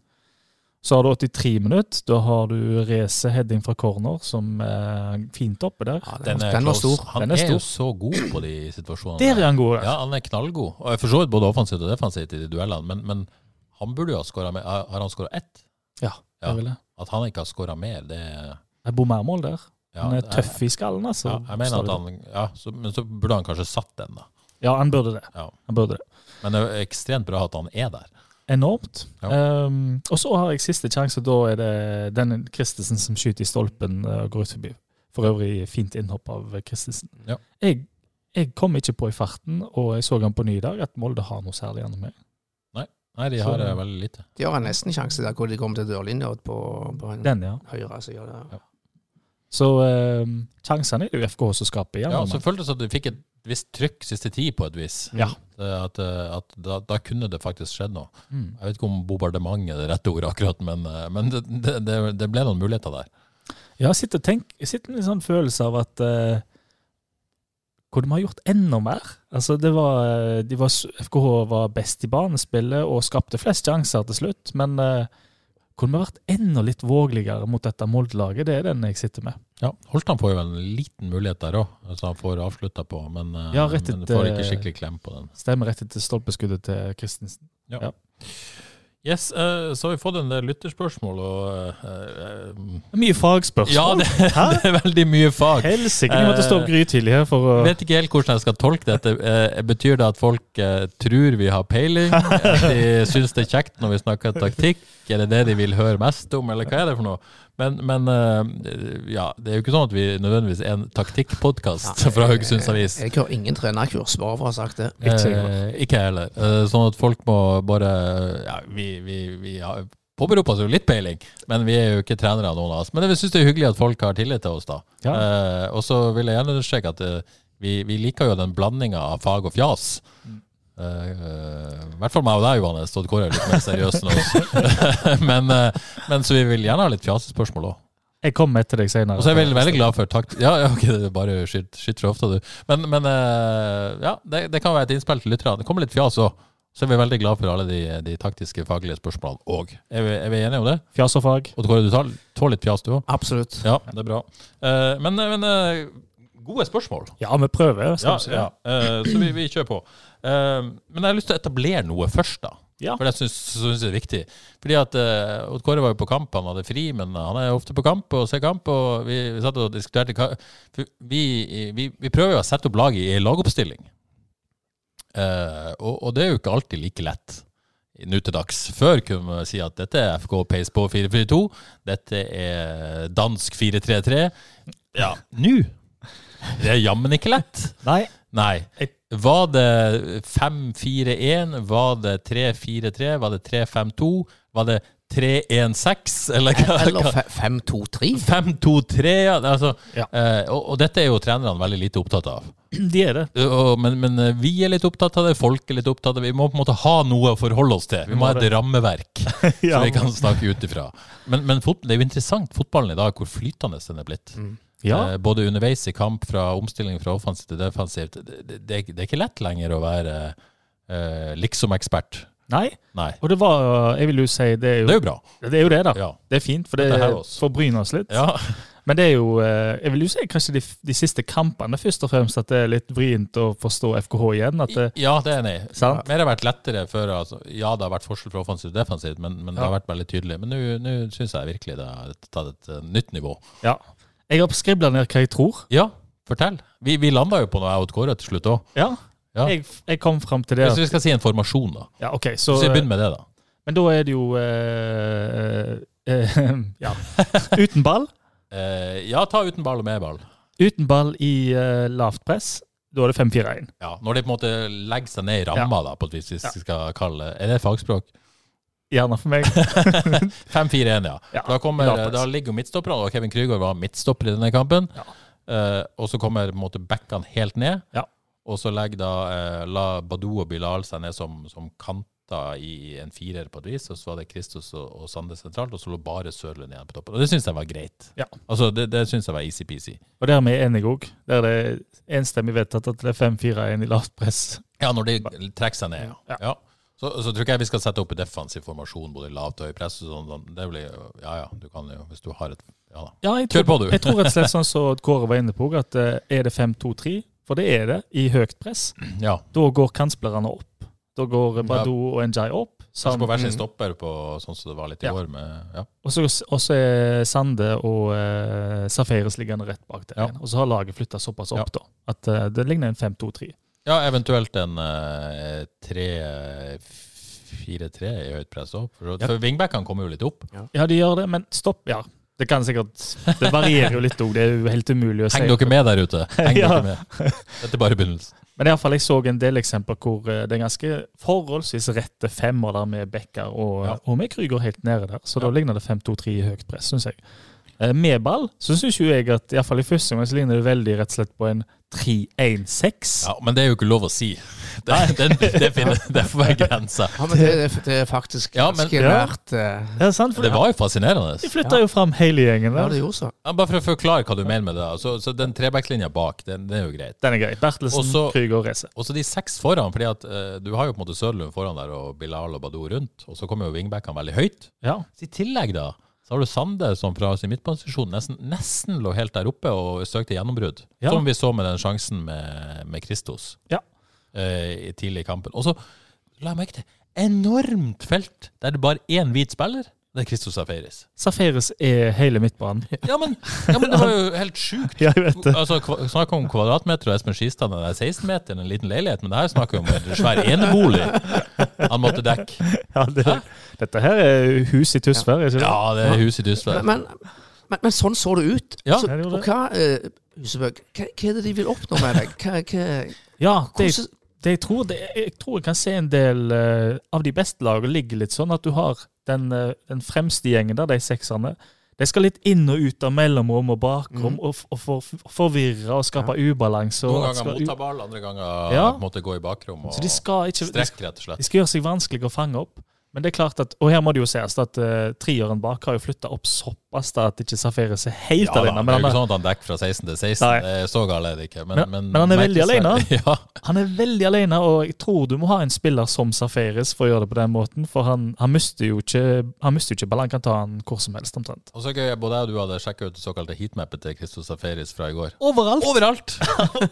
Speaker 3: Så har du 83 minutter. Da har du Reze heading fra corner, som er fint oppe der.
Speaker 2: Ja, den,
Speaker 1: Den
Speaker 2: den var
Speaker 1: close.
Speaker 2: stor.
Speaker 1: Han
Speaker 3: Den
Speaker 1: er,
Speaker 3: er
Speaker 1: jo så god på de situasjonene.
Speaker 3: Der er han god. der.
Speaker 1: Ja, han er knallgod. Og For så vidt både offensivt og defensivt i de duellene, men, men han burde jo ha skåra mer. Har han skåra ett?
Speaker 3: Jeg
Speaker 1: ja.
Speaker 3: vil det.
Speaker 1: At han ikke har skåra mer, det
Speaker 3: Det bor mer mål der.
Speaker 1: ja,
Speaker 3: Han er
Speaker 1: det-
Speaker 3: tøff i skallen, altså.
Speaker 1: Ja, jeg mener
Speaker 3: Står
Speaker 1: at
Speaker 3: det.
Speaker 1: han, ja, så, men så burde han kanskje satt den, da.
Speaker 3: Ja, han burde det.
Speaker 1: Ja.
Speaker 3: Han burde det.
Speaker 1: Men det er ekstremt bra at han er der.
Speaker 3: Enormt.
Speaker 1: Ja.
Speaker 3: Um, og så har jeg siste sjanse. Da er det den Christensen som skyter i stolpen eh, og går ut forbi. For øvrig fint innhopp av Christensen.
Speaker 1: Ja.
Speaker 3: Jeg, jeg kom ikke på i farten, og jeg så han på ny i dag, at Molde har noe særlig gjennom meg.
Speaker 1: Nei, de
Speaker 3: Så-
Speaker 1: har eh, veldig lite.
Speaker 2: De har en nesten sjanse der hvor de kommer til dørlinja ut på, på en
Speaker 3: Den, ja.
Speaker 2: høyre side.
Speaker 1: [LAUGHS]
Speaker 2: der.
Speaker 3: Så um, sjansene er det jo FKH som skaper igjen.
Speaker 1: Ja,
Speaker 3: men-
Speaker 1: så føltes det som at de fikk et visst trykk siste tid, på et vis.
Speaker 3: Ja.
Speaker 1: Det- eh, at, eh, at da, da kunne det faktisk skjedd noe.
Speaker 3: Mm.
Speaker 1: Jeg vet ikke om bombardement er det rette ordet akkurat, men, eh, men det, det, det, det ble noen muligheter der.
Speaker 3: Ja, jeg sitter, og tenk, jeg sitter med en sånn følelse av at eh, Hvor de har gjort enda mer. Altså, det var, de var, FKH var best i banespillet og skapte flest sjanser til slutt, men eh, kunne vi vært enda litt vågeligere mot dette Molde-laget? Det er den jeg sitter med.
Speaker 1: Ja, Holtan får jo en liten mulighet der òg, så han får avslutta på, men, eh,
Speaker 3: Ja, rett
Speaker 1: men
Speaker 3: etter-
Speaker 1: får ikke skikkelig klem på den.
Speaker 3: Stemmer rett etter stolpeskuddet til Christensen.
Speaker 1: Yes, eh, Så har vi fått en del lytterspørsmål, og eh, eh,
Speaker 3: Mye fagspørsmål.
Speaker 1: Ja, det, [LAUGHS] det er veldig mye
Speaker 3: [LAUGHS]
Speaker 1: fag.
Speaker 3: Helsike, vi måtte stå opp grytidlig her for å
Speaker 1: Jeg vet ikke helt hvordan jeg skal tolke dette. Eh, Betyr det at folk eh, tror vi har peiling? Eh, De syns det er kjekt når vi snakker taktikk? Er det det de vil høre mest om, eller hva er det for noe? Men, men eh, ja, det er jo ikke sånn at vi nødvendigvis er en taktikkpodkast fra Haugesunds Avis.
Speaker 2: Jeg har ingen trenerkurs, bare for å ha sagt det.
Speaker 1: Eh, ikke jeg heller. Eh, sånn at folk må bare ja, Vi, vi, vi har påberoper oss jo litt peiling, men vi er jo ikke trenere, noen av oss. Men vi syns det er hyggelig at folk har tillit til oss, da.
Speaker 3: Ja.
Speaker 1: Eh, og så vil jeg gjerne understreke at eh, vi, vi liker jo den blandinga av fag og fjas. Eh, eh, I hvert fall meg og deg, Johannes. Odd Kåre er litt mer seriøs enn oss. [LAUGHS] men, eh, men så vi vil gjerne ha litt fjasespørsmål òg.
Speaker 3: Jeg kommer etter deg senere.
Speaker 1: Og så er jeg veldig, veldig glad for takt... Ja, ja, ok, det er bare skyt, skyt så ofte, du. Men, men eh, ja, det, det kan være et innspill til lytterne. Det kommer litt fjas òg. Så er vi veldig glad for alle de, de taktiske, faglige spørsmålene òg. Er, vi- er vi enige om det?
Speaker 3: Fjas og fag.
Speaker 1: Odd Kåre, du tar, tåler litt fjas, du òg?
Speaker 2: Absolutt.
Speaker 1: Ja, det er bra. Eh, men men eh, gode spørsmål.
Speaker 3: Ja, vi prøver.
Speaker 1: Ja,
Speaker 3: skal vi si.
Speaker 1: ja. Eh, så vi, vi kjører på. Eh, men jeg har lyst til å etablere noe først, da.
Speaker 3: Ja.
Speaker 1: For det syns syns jeg er viktig. Fordi at eh, Odd Kåre var jo på kamp, han hadde fri, men han er ofte på kamp og ser kamp. Og vi, vi satt og diskuterte hva- for vi, vi, vi prøver jo å sette opp laget i en lagoppstilling. Eh, og, og det er jo ikke alltid like lett nå til dags. Før kunne vi si at dette er FK Pace på 4-4-2, dette er dansk 4-3-3. Ja, nå! Det er jammen ikke lett.
Speaker 3: Nei,
Speaker 1: Nei.
Speaker 3: Jeg-
Speaker 1: Var det 5-4-1? Var det 3-4-3? Var det 3-5-2? Var det 3-1-6? Eller hva?
Speaker 3: [LAUGHS]
Speaker 2: Eller
Speaker 1: hva-
Speaker 2: fe- 5-2-3.
Speaker 1: 5-2-3? ja, Altså,
Speaker 3: Ja.
Speaker 1: eh, og, og dette er jo trenerne veldig lite opptatt av.
Speaker 3: de er det. [LAUGHS]
Speaker 1: Og, men, men eh, vi er litt opptatt av det, folk er litt opptatt av det. Vi må på en måte ha noe å forholde oss til. Vi må ha et rammeverk [LAUGHS] som vi kan snakke ut ifra. Men, men fot, det er jo interessant, fotballen i dag, hvor flytende den er blitt.
Speaker 3: Ja,
Speaker 1: Eh, både underveis i kamp, fra omstilling fra offensivt til defensivt. Det, det, det, er ikke- det er ikke lett lenger å være eh, liksom-ekspert.
Speaker 3: Nei.
Speaker 1: Nei.
Speaker 3: Og det var eh, Jeg vil jo si det er jo
Speaker 1: Det er jo bra.
Speaker 3: Det er jo det, da.
Speaker 1: Ja.
Speaker 3: Det er fint, for det,
Speaker 1: Dette her
Speaker 3: det
Speaker 1: også.
Speaker 3: får bryne oss litt.
Speaker 1: Ja,
Speaker 3: Men det er jo eh, Jeg vil jo si kanskje de, de siste kampene først og fremst at det er litt vrient å forstå FKH igjen. At det,
Speaker 1: ja det er jeg enig i.
Speaker 3: sant?
Speaker 1: Mer har vært lettere før. Altså, ja, det har vært forskjell fra offensivt og defensivt, men, men det har vært veldig tydelig. Men nå- nå syns jeg virkelig det har tatt et eh, nytt nivå.
Speaker 3: Ja. Jeg har skribla ned hva jeg tror.
Speaker 1: Ja, fortell. Vi, vi landa jo på noe jeg og Kåre til slutt òg.
Speaker 3: Ja.
Speaker 1: Ja.
Speaker 3: Jeg, jeg kom fram til det.
Speaker 1: Hvis
Speaker 3: at-
Speaker 1: vi skal si en formasjon, da.
Speaker 3: Ja, ok, så, eh,
Speaker 1: Så vi begynner med det, da.
Speaker 3: Men da er det jo eh, eh, [LAUGHS] Ja. Uten ball.
Speaker 1: Eh, ja, ta uten ball og med ball.
Speaker 3: Uten ball i eh, lavt press. Da er det 5-4-1.
Speaker 1: Ja, Når de på en måte legger seg ned i ramma, da, på et vis, hvis
Speaker 3: Ja.
Speaker 1: vi skal kalle det Er det fagspråk?
Speaker 3: Gjerne for meg.
Speaker 1: 5-4-1, ja.
Speaker 3: Ja,
Speaker 1: Da,
Speaker 3: i
Speaker 1: kommer,
Speaker 3: lavpress.
Speaker 1: da ligger jo midtstopperne, og Kevin Krygård var midtstopper i denne kampen.
Speaker 3: Ja.
Speaker 1: Eh, og så kommer på en måte backene helt ned,
Speaker 3: Ja.
Speaker 1: og så legger da eh, La Badou og Bilal seg ned som, som kanter i en firer på et vis, og så var det Kristus og, og Sande sentralt, og så lå bare Sørlund igjen på toppen. Og det syns jeg var greit.
Speaker 3: Ja.
Speaker 1: Altså, det, det syns jeg var easy-peasy.
Speaker 3: Og der er vi enige òg. Der er det enstemmig vedtatt at det er 5-4-1 i lavt press.
Speaker 1: Ja, når de trekker seg ned, ja.
Speaker 3: Ja.
Speaker 1: ja. Så, så tror ikke jeg vi skal sette opp en defensiv formasjon, både lavt og høyt press. og Sånn, sånn. Det blir, jo- ja ja, du kan jo, hvis du har et Ja da.
Speaker 3: Ja, jeg
Speaker 1: Kjør
Speaker 3: tror,
Speaker 1: på, du.
Speaker 3: jeg tror rett og slett sånn som Kåre var inne på, at eh, er det 5-2-3, for det er det, i høyt press,
Speaker 1: Ja,
Speaker 3: da går kantspillerne opp. Da går Badou og Njay opp.
Speaker 1: Kanskje
Speaker 3: Sand,
Speaker 1: på hver sin stopper, på, sånn som det var litt i
Speaker 3: Sånn, mm. Ja.
Speaker 1: år. Med, ja.
Speaker 3: og, så, og så er Sande og eh, Safaris liggende rett bak der.
Speaker 1: Ja.
Speaker 3: igjen. Og så har laget flytta såpass opp da, at eh, det ligner en 5-2-3.
Speaker 1: ja, eventuelt en eh, 3-4-3 i høyt press òg. For,
Speaker 3: Ja.
Speaker 1: for wingbackene kommer jo litt opp.
Speaker 3: Ja, de gjør det, men stopp. Ja, det kan sikkert Det varierer jo litt òg. Det er jo helt umulig å si.
Speaker 1: Heng dere med der
Speaker 3: [LAUGHS]
Speaker 1: ute! Heng
Speaker 3: Ja.
Speaker 1: dere med. Dette er bare begynnelsen.
Speaker 3: Men i alle fall, jeg så en del eksempler hvor eh, det er ganske forholdsvis rette femmer der med Becker og,
Speaker 1: Ja.
Speaker 3: og med Krüger helt nede der. Så
Speaker 1: Ja.
Speaker 3: da ligner det 5-2-3 i høyt press, syns jeg. Eh, Med ball så syns jo jeg at i hvert fall i første omgang så ligner det veldig rett og slett på en 3-1-6.
Speaker 1: Ja, men det er jo ikke lov å si. Det, [LAUGHS] det, det, finner, det får være grensa.
Speaker 3: [LAUGHS]
Speaker 2: Ja, men det, det- det er faktisk
Speaker 1: Ja, men-
Speaker 2: ganske
Speaker 3: Ja.
Speaker 2: nært. eh,
Speaker 3: Er det sant? For
Speaker 1: Det var jo fascinerende.
Speaker 3: de flytta jo fram hele gjengen
Speaker 2: Ja, det
Speaker 3: der.
Speaker 2: gjorde så.
Speaker 1: Ja, bare for å forklare hva du mener med det. da. Så, så den trebackslinja bak, den, den er jo greit.
Speaker 3: Den er grei. Bertelsen,
Speaker 1: Også-
Speaker 3: Krüger og Reze.
Speaker 1: Og så de seks foran, fordi at eh, du har jo på en måte Sørlund foran der og Bilal og Badou rundt, og så kommer jo wingbackene veldig høyt.
Speaker 3: Ja.
Speaker 1: Så I tillegg da, så har du Sande som fra sin midtbanestasjon nesten, nesten lå helt der oppe og søkte gjennombrudd.
Speaker 3: Ja.
Speaker 1: Som vi så med den sjansen med, med Kristos
Speaker 3: Ja.
Speaker 1: eh, i tidlig i kampen. Og så la jeg merke til enormt felt der det bare én hvit spiller. Det er Kristos Safaris.
Speaker 3: Safaris er hele midtbanen.
Speaker 1: Ja, men, ja, men det var jo helt sjukt.
Speaker 3: Ja, jeg vet det.
Speaker 1: Altså, kva- Snakk om kvadratmeter og Espen Skistad, den der 16-meteren, en liten leilighet, men det her snakker vi om en svær enebolig han måtte dekke.
Speaker 3: Ja, det, dette her er hus i Tysvær, ikke det?
Speaker 1: Ja, det er huset i Dysvær.
Speaker 2: Men, men, men, men sånn så det ut.
Speaker 1: Ja,
Speaker 2: så,
Speaker 3: det gjorde det.
Speaker 2: og hva, eh, Husebø, hva, hva er det de vil oppnå med deg? Hva, hva,
Speaker 3: Ja, det,
Speaker 2: hvordan,
Speaker 3: det jeg, tror, det, jeg tror jeg kan se en del eh, av de beste lagene ligger litt sånn at du har den, eh, den fremste gjengen der, de sekserne. De skal litt inn og ut av mellomrom og bakrom og, f- og for, forvirre og skape ubalanse. og
Speaker 1: Mhm. Noen
Speaker 3: at
Speaker 1: ganger
Speaker 3: skal u-
Speaker 1: motta ball, andre ganger
Speaker 3: Ja.
Speaker 1: måtte gå i bakrom og
Speaker 3: Så de skal ikke de,
Speaker 1: strekke, rett og slett.
Speaker 3: de skal gjøre seg vanskelig å fange opp. Men det er klart at, Og her må det jo ses at uh, treeren bak har jo flytta opp såpass da at ikke Safaris er helt
Speaker 1: Ja, da, det
Speaker 3: alene.
Speaker 1: er jo
Speaker 3: Men
Speaker 1: ikke
Speaker 3: han er,
Speaker 1: sånn at han dekker fra 16 til 16,
Speaker 3: Nei.
Speaker 1: det er så galt er det ikke. Men,
Speaker 3: Men- men han er veldig alene.
Speaker 1: [LAUGHS] Ja,
Speaker 3: han er veldig alene, og jeg tror du må ha en spiller som Safaris for å gjøre det på den måten. For han, han mister jo ikke han mister jo ikke ballen, han kan ta han hvor som helst, omtrent.
Speaker 1: og så gøy, både jeg og du hadde sjekket ut det såkalte heatmappet til Kristos Safaris fra i går.
Speaker 3: Overalt!
Speaker 1: Overalt!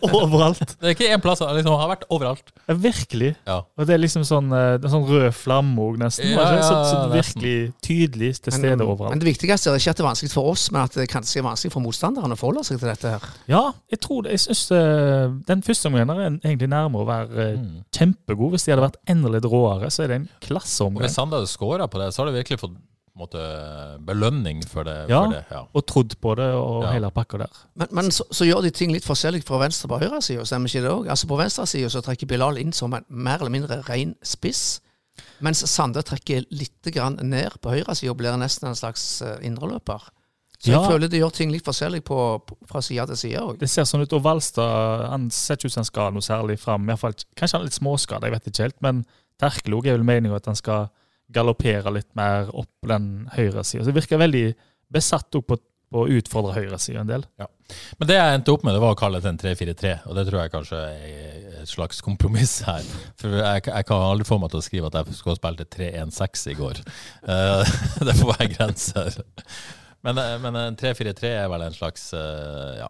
Speaker 3: Overalt!
Speaker 1: Det er ikke én plass, han liksom, han har vært overalt.
Speaker 3: [LAUGHS] Ja, virkelig.
Speaker 1: Ja.
Speaker 3: Og det er liksom sånn, eh, det er sånn rød flamme òg, nesten.
Speaker 1: Ja,
Speaker 3: var det ikke?
Speaker 1: ja,
Speaker 3: så, så
Speaker 1: nesten.
Speaker 3: virkelig tydelig til
Speaker 2: Men- um,
Speaker 3: stede
Speaker 2: Men
Speaker 3: overalt.
Speaker 2: det viktigste er ikke at det er vanskelig for oss, men at det kanskje er vanskelig for motstanderne å forholde seg til dette her.
Speaker 3: Ja, jeg tror det. Jeg syns eh, den første omgangen er en- egentlig nærmere å være eh,
Speaker 1: Mm.
Speaker 3: kjempegod. Hvis de hadde vært enda litt råere, så er det en
Speaker 1: Og
Speaker 3: klasseomgang.
Speaker 1: hvis Sande hadde scora på det, så hadde du virkelig fått på en måte, belønning for det.
Speaker 3: Ja.
Speaker 1: For det ja.
Speaker 3: Og trodd på det og
Speaker 1: Ja.
Speaker 3: hele pakka der.
Speaker 2: Men, men så, så gjør de ting litt forskjellig fra venstre på høyre side, stemmer ikke det òg? Altså på venstre side så trekker Bilal inn som en mer eller mindre ren spiss, mens Sande trekker litt grann ned på høyre side og blir nesten en slags eh, indreløper. Så
Speaker 3: Ja.
Speaker 2: jeg føler de gjør ting litt forskjellig på, på, fra side til side òg.
Speaker 3: Det ser sånn ut. Og Valstad han ser ikke ut som han skal noe særlig fram. I hvert fall, kanskje han er litt småskada, jeg vet ikke helt. Men Terkelog er vel meninga at han skal galoppere litt mer opp på den høyresida. Så det virker veldig besatt også på, på å utfordre høyresida en del.
Speaker 1: Men det jeg endte opp med, det var å kalle det en 3-4-3, og det tror jeg kanskje er et slags kompromiss her. For jeg, jeg kan aldri få meg til å skrive at jeg skulle ha spilt et 3-1-6 i går. Eh, [LAUGHS] det får være grenser. Men, eh, men en 3-4-3 er vel en slags eh, ja.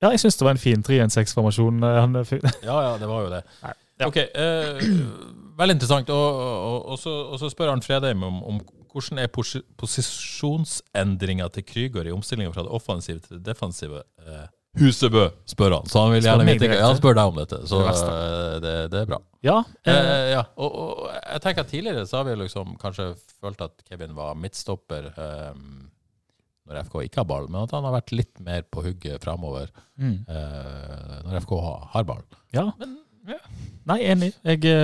Speaker 3: Ja, jeg syns det var en fin 3-1-6-formasjon. eh, han fikk.
Speaker 1: ja, ja, det var jo det.
Speaker 3: Nei,
Speaker 1: Ok, eh, Veldig interessant. Og, og, og, så, og så spør Arnt Fredheim om, om hvordan er posi posisjonsendringa til Krüger i omstillinga fra det offensive til det defensive? Eh, Husebø, spør han. Så han vil
Speaker 3: Spør
Speaker 1: gjerne
Speaker 3: meg
Speaker 1: vite
Speaker 3: direkte.
Speaker 1: ja, Han spør deg om dette, så
Speaker 3: Det verste.
Speaker 1: eh, det, det er bra.
Speaker 3: [LAUGHS] Ja, eh,
Speaker 1: Eh, ja, og, og jeg tenker at Tidligere så har vi liksom kanskje følt at Kevin var midtstopper eh, når FK ikke har ball, men at han har vært litt mer på hugget framover
Speaker 3: mm,
Speaker 1: eh, når FK har, har ball.
Speaker 3: ja.
Speaker 1: ja.
Speaker 3: Nei, enig. Jeg eh,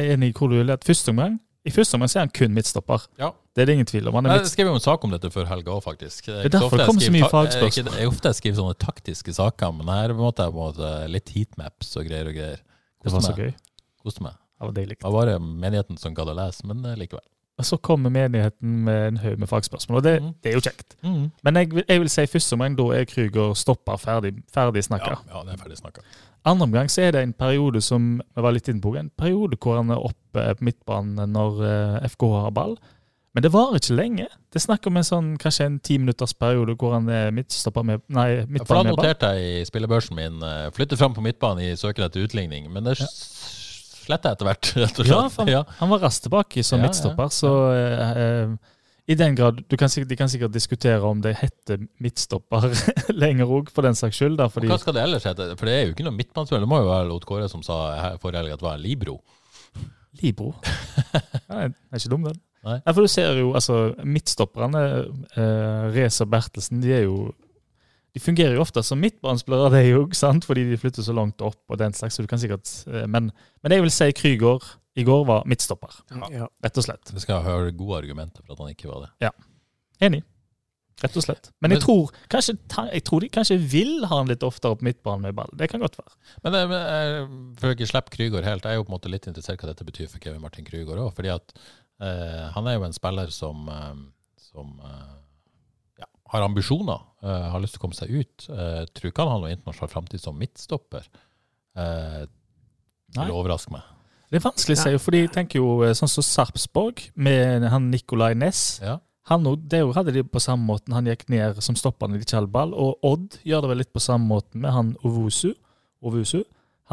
Speaker 3: er enig i hvor du vil. at Første omgang I første omgang så er han kun midtstopper.
Speaker 1: Ja.
Speaker 3: Det er det ingen tvil om. Han er
Speaker 1: Nei,
Speaker 3: midtstopper.
Speaker 1: Jeg skrev jo en sak om dette før helga òg, faktisk. Det
Speaker 3: er derfor det kommer så mye fagspørsmål.
Speaker 1: Det er ofte jeg skriver sånne taktiske saker, men her måtte jeg på en måte litt heatmaps og greier og greier.
Speaker 3: Det var så
Speaker 1: meg.
Speaker 3: gøy.
Speaker 1: Koste meg.
Speaker 3: Det var deilig.
Speaker 1: Det var bare menigheten som gadd å lese, men eh, likevel.
Speaker 3: Og så kommer menigheten med en haug med fagspørsmål, og det,
Speaker 1: Mhm.
Speaker 3: det er jo kjekt. Men jeg, vil- jeg vil si første omgang, da er Krüger stopper ferdig, ferdig snakka.
Speaker 1: Ja, ja, det er ferdig snakka.
Speaker 3: Andre omgang så er det en periode som vi var litt inne på, en periode hvor han er oppe på midtbanen når eh, FK har ball. Men det varer ikke lenge. Det er snakk om en sånn, kanskje en timinutters periode hvor han er midtstopper med Nei,
Speaker 1: For
Speaker 3: midtbanen
Speaker 1: da
Speaker 3: med ball.
Speaker 1: noterte jeg i spillebørsen min eh, 'flytte fram på midtbanen i søken etter utligning', men det sletter jeg etter hvert, [LAUGHS] rett og
Speaker 3: Ja,
Speaker 1: slett.
Speaker 3: for han,
Speaker 1: Ja.
Speaker 3: han var raskt tilbake som
Speaker 1: Ja, ja.
Speaker 3: midtstopper, så eh, eh, i den grad du kan, sikk- De kan sikkert diskutere om det heter midtstopper [LAUGHS] lenger òg, for den saks skyld. da,
Speaker 1: Og
Speaker 3: fordi
Speaker 1: Hva skal det ellers hete? For det er jo ikke noe midtbanespiller. Det må jo være Lot Kåre som sa her forrige helg at det var en Libro.
Speaker 3: Libro. Nei, den er ikke dum, den.
Speaker 1: Nei.
Speaker 3: Ja, for du ser jo, altså, Midtstopperne, eh, Reza Bertelsen, de er jo De fungerer jo ofte som midtbanespillere, det er jo, ikke sant? fordi de flytter så langt opp og den slags. så du kan sikkert, eh, Men, men jeg vil si Krygård i går var midtstopper,
Speaker 2: Ja.
Speaker 3: rett og slett.
Speaker 1: Vi skal høre gode argumenter for at han ikke var det.
Speaker 3: Enig. Rett og slett. Men jeg tror, kanskje, ta- jeg tror de kanskje vil ha han litt oftere på midtbanen med ball. Det kan godt være.
Speaker 1: Men, eh, men eh, for å ikke slippe Krygård helt, jeg er jo på en måte litt interessert i hva dette betyr for Kevin Martin Krygård òg. Fordi at eh, han er jo en spiller som, eh, som eh, ja, har ambisjoner, eh, har lyst til å komme seg ut. Eh, tror ikke han har noen internasjonal framtid som midtstopper. Eh,
Speaker 3: Nei.
Speaker 1: vil overraske meg.
Speaker 3: Det er vanskelig å si, fordi jeg tenker jo eh, sånn som Sarpsborg, med han Nicolay Næss.
Speaker 1: Ja.
Speaker 3: Han og, det jo hadde de på samme måten. Han gikk ned som stoppende i kjellball. Og Odd gjør det vel litt på samme måten med han Ovusu. Ovusu.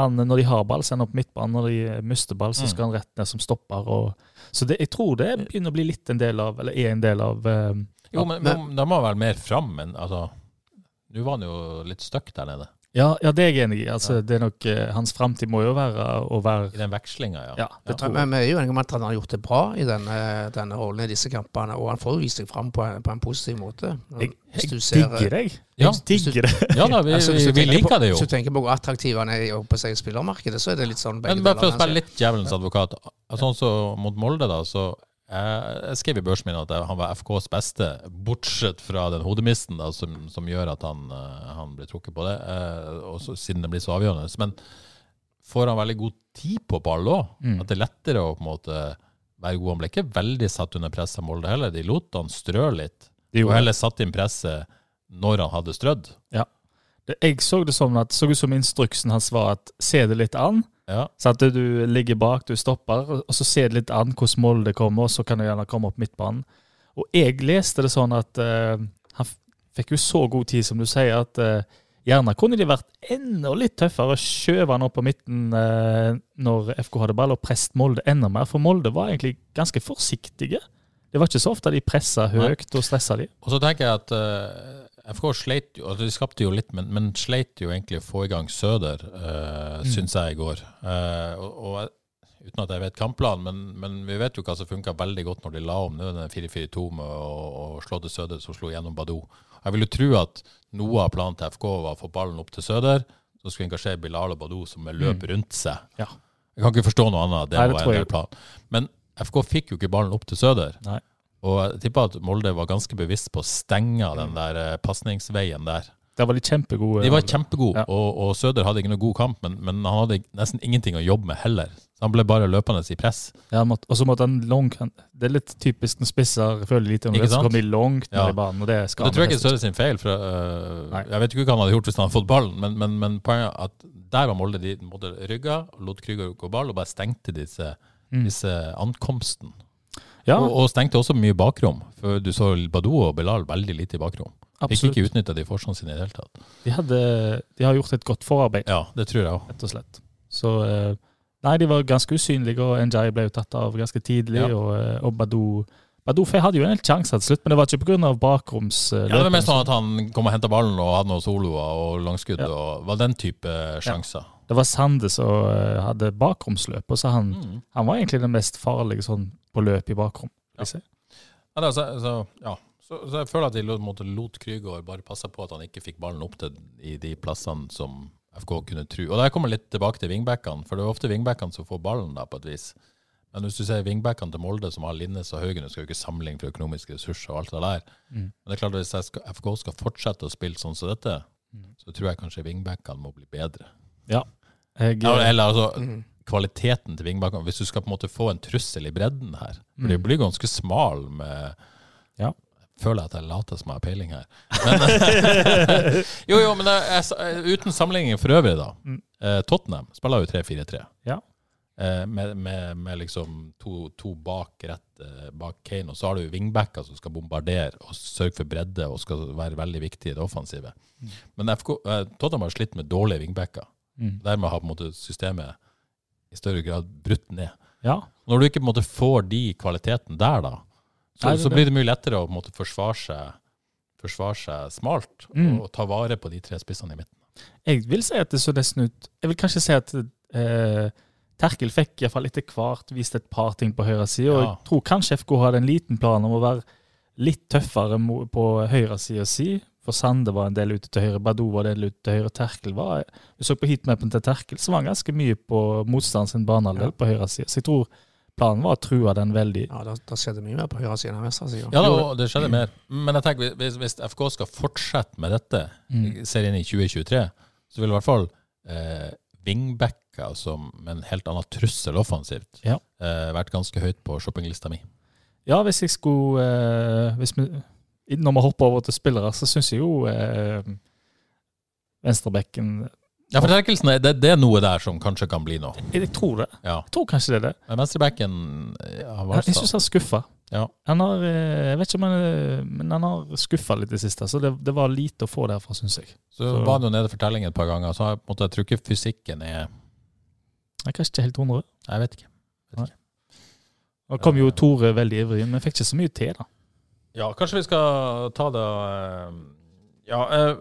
Speaker 3: Han, eh, når de har ball, så er han opp midtbanen. Når de eh, mister ball, så skal han rett ned som stopper. Og, så det, jeg tror det begynner å bli litt en del av, eller er en del av eh,
Speaker 1: Jo, men,
Speaker 2: men-
Speaker 1: men da må han vel mer fram enn altså, Nå var han jo litt stuck der nede,
Speaker 3: ja, ja, det er jeg enig i. Altså, det er nok, eh, hans framtid må jo være å
Speaker 1: i
Speaker 3: være
Speaker 1: den vekslinga, ja.
Speaker 3: Ja, det tror jeg.
Speaker 2: Men, men vi er jo enige om at han har gjort det bra i denne, denne rollen i disse kampene, og han får jo vist seg fram på en, på en positiv måte.
Speaker 3: Jeg,
Speaker 2: Hvis du
Speaker 3: jeg
Speaker 2: ser-
Speaker 3: digger deg.
Speaker 1: Ja.
Speaker 3: Jeg digger
Speaker 1: [LAUGHS]
Speaker 3: det.
Speaker 1: Ja da, vi,
Speaker 2: Altså, hvis
Speaker 1: vi,
Speaker 2: du
Speaker 1: vi
Speaker 2: tenker
Speaker 1: liker
Speaker 2: på,
Speaker 1: det jo.
Speaker 2: Hvis du tenker på hvor attraktiv han er i på seg i spillermarkedet, så er det litt sånn begge
Speaker 1: Men bare for å
Speaker 2: deler,
Speaker 1: spille
Speaker 2: altså.
Speaker 1: litt djevelens advokat. Sånn så mot Molde, da, så jeg, jeg skrev i børsen min at jeg- han var FKs beste, bortsett fra den hodemisten da, som, som gjør at han, eh, han blir trukket på det, eh, og så, siden det blir så avgjørende. Men får han veldig god tid på ball òg?
Speaker 3: Mm.
Speaker 1: At det er lettere å på en måte være god? Han ble ikke veldig satt under press av Molde heller. De lot han strø litt,
Speaker 3: Det
Speaker 1: og
Speaker 3: gjorde
Speaker 1: heller satt inn presset når han hadde strødd.
Speaker 3: Det- Jeg så det som at, så ut som instruksen hans var at se det litt an.
Speaker 1: Ja.
Speaker 3: Så at du ligger bak, du stopper, og så ser det litt an hvordan Molde kommer, og så kan du gjerne komme opp midtbanen. Og jeg leste det sånn at eh, han f- fikk jo så god tid, som du sier, at eh, gjerne kunne de vært enda litt tøffere og skjøvet han opp på midten eh, når FK hadde ball, og presset Molde enda mer. For Molde var egentlig ganske forsiktige. Det var ikke så ofte de pressa
Speaker 1: Nei.
Speaker 3: høyt og stressa de.
Speaker 1: Og så tenker jeg at eh, FK sleit jo, altså de skapte jo litt, men, men sleit jo egentlig å få i gang Søder, uh, syns jeg, i går. Eh, og, og jeg- Uten at jeg vet kampplanen, men, men vi vet jo hva som funka veldig godt når de la om nå, den 4-4-2 med å, å slå til Søder, som slo gjennom Badou. Jeg vil jo tro at noe av planen til FK var å få ballen opp til Søder, så skulle engasjere Bilal og Badou, som løp rundt seg.
Speaker 3: Mm. Ja.
Speaker 1: Jeg kan ikke forstå noe annet. at Det,
Speaker 3: Nei, det
Speaker 1: var
Speaker 3: tror
Speaker 1: en
Speaker 3: jeg
Speaker 1: del plan. Men FK fikk jo ikke ballen opp til Søder.
Speaker 3: Nei.
Speaker 1: Og jeg tipper at Molde var ganske bevisst på å stenge den
Speaker 3: Mm.
Speaker 1: der eh, pasningsveien der.
Speaker 3: Der var de kjempegode.
Speaker 1: De var kjempegode,
Speaker 3: Ja.
Speaker 1: og, og Søder hadde ikke noe god kamp, men, men han hadde nesten ingenting å jobbe med heller. Så han ble bare løpende i press.
Speaker 3: Ja, han måtte, og så måtte han long, han- Det er litt typisk når spisser føler lite om
Speaker 1: Ikke
Speaker 3: det, så
Speaker 1: sant?
Speaker 3: kommer de langt ned
Speaker 1: Ja.
Speaker 3: i banen. og det skal
Speaker 1: Det tror
Speaker 3: han
Speaker 1: jeg ikke er
Speaker 3: nesten-
Speaker 1: Søder sin feil. For, øh,
Speaker 3: Nei.
Speaker 1: jeg vet ikke hva han hadde gjort hvis han hadde fått ballen, men, men, men poenget er at der var Molde. De måtte rygga, lot Krüger gå ball, og bare stengte disse, disse ankomsten.
Speaker 3: Mm. Ja,
Speaker 1: Og, og stengte også mye bakrom. For du så Badou og Bilal veldig lite i bakrom. Fikk
Speaker 3: absolutt.
Speaker 1: ikke utnytta de forsene sine i det hele tatt.
Speaker 3: De, hadde, de har gjort et godt forarbeid,
Speaker 1: Ja, det tror jeg òg.
Speaker 3: rett og slett. Så eh, Nei, de var ganske usynlige, og Njai ble jo tatt av ganske tidlig.
Speaker 1: Ja.
Speaker 3: Og, eh, og Badou Badou Fe hadde jo en helt sjanse til slutt, men det var ikke pga. bakromsløpet.
Speaker 1: Ja, det var mer sånn at han kom og henta ballen og hadde noen soloer og langskudd.
Speaker 3: Ja.
Speaker 1: og var den type sjanser.
Speaker 3: det var Sande som eh, hadde bakromsløp, og så han,
Speaker 1: Mm.
Speaker 3: han var egentlig den mest farlige sånn på løp i bakrom. vil jeg si.
Speaker 1: Ja, da, så, så, altså, ja. Så, så jeg føler at de lot- måtte lot Krüger bare passe på at han ikke fikk ballen opp til i de plassene som FK kunne tru. Og der kommer jeg litt tilbake til wingbackene, for det er ofte wingbackene som får ballen da, på et vis. Men hvis du ser wingbackene til Molde, som har Linnes og Haugen, du skal jo ikke sammenligne for økonomiske ressurser og alt det der.
Speaker 3: Mm.
Speaker 1: Men det er klart at hvis jeg skal, FK skal fortsette å spille sånn som dette, så tror jeg kanskje wingbackene må bli bedre.
Speaker 3: Jeg,
Speaker 1: Ja, eller altså,
Speaker 2: Mm.
Speaker 1: kvaliteten til wingbackene, hvis du skal på en måte få en trussel i bredden her. For det blir ganske smal med
Speaker 3: Mm. Ja.
Speaker 1: Føler jeg at jeg later som jeg har peiling her. Men, [LAUGHS] jo, jo, men jeg, jeg, sa- uten sammenligning for øvrig, da.
Speaker 3: Mm.
Speaker 1: Eh, Tottenham spiller jo 3-4-3.
Speaker 3: Ja.
Speaker 1: Eh, med, med, med liksom to, to bak rett eh, bak Kane, og så har du wingbacker som skal bombardere og sørge for bredde og skal være veldig viktig i det offensive. Men FK, eh, Tottenham har slitt med dårlige wingbacker.
Speaker 3: Mm.
Speaker 1: Dermed har på en måte systemet i større grad brutt ned.
Speaker 3: ja.
Speaker 1: Når du ikke på en måte får de kvalitetene der, da, så,
Speaker 3: Nei, det-
Speaker 1: så blir det mye lettere å på en måte forsvare seg, forsvare seg smalt
Speaker 3: Mm.
Speaker 1: og ta vare på de tre spissene i midten.
Speaker 3: Jeg vil si at det så nesten ut Jeg vil kanskje si at eh, Terkel fikk i hvert fall etter hvert vist et par ting på høyre side, og
Speaker 1: Ja.
Speaker 3: jeg tror kanskje FK hadde en liten plan om å være litt tøffere mo- på høyre side si. For Sande var en del ute til høyre, Badou var en del ute til høyre, Terkel var Du så på heatmappen til Terkel, så var han ganske mye på motstanders sin banehalvdel på høyre side. Så jeg tror Planen var å true den veldig.
Speaker 2: Ja, da, da skjedde mye mer på høyresiden enn venstresiden.
Speaker 1: Ja, da, og det skjedde mer. Men jeg tenker, hvis, hvis FK skal fortsette med dette,
Speaker 3: Mm.
Speaker 1: serien i 2023, så vil i hvert fall eh, wingbacker som en helt annen trussel offensivt
Speaker 3: Ja.
Speaker 1: eh, vært ganske høyt på shoppinglista mi.
Speaker 3: Ja, hvis jeg skulle eh, hvis vi, Når vi hopper over til spillere, så syns jeg jo eh, venstrebekken
Speaker 1: Ja, forsterkelsen er, liksom- det, det er noe der som kanskje kan bli noe.
Speaker 3: Jeg tror det.
Speaker 1: Ja.
Speaker 3: Jeg tror kanskje det er det.
Speaker 1: Men venstrebacken eh, ja,
Speaker 3: Jeg, jeg
Speaker 1: Hvalstad.
Speaker 3: syns han skuffa.
Speaker 1: Ja.
Speaker 3: Han har, eh, jeg vet ikke om han, eh, men han har skuffa litt i det siste, så det, det var lite å få derfra, syns jeg.
Speaker 1: Så
Speaker 3: så-
Speaker 1: var han jo nede for telling et par ganger, så jeg, på en måte, jeg tror ikke fysikken er
Speaker 3: Jeg er kanskje ikke helt 100.
Speaker 1: Jeg vet ikke.
Speaker 3: Da kom jo Tore veldig ivrig, men fikk ikke så mye til, da.
Speaker 1: Ja, kanskje vi skal ta det eh, Ja, eh,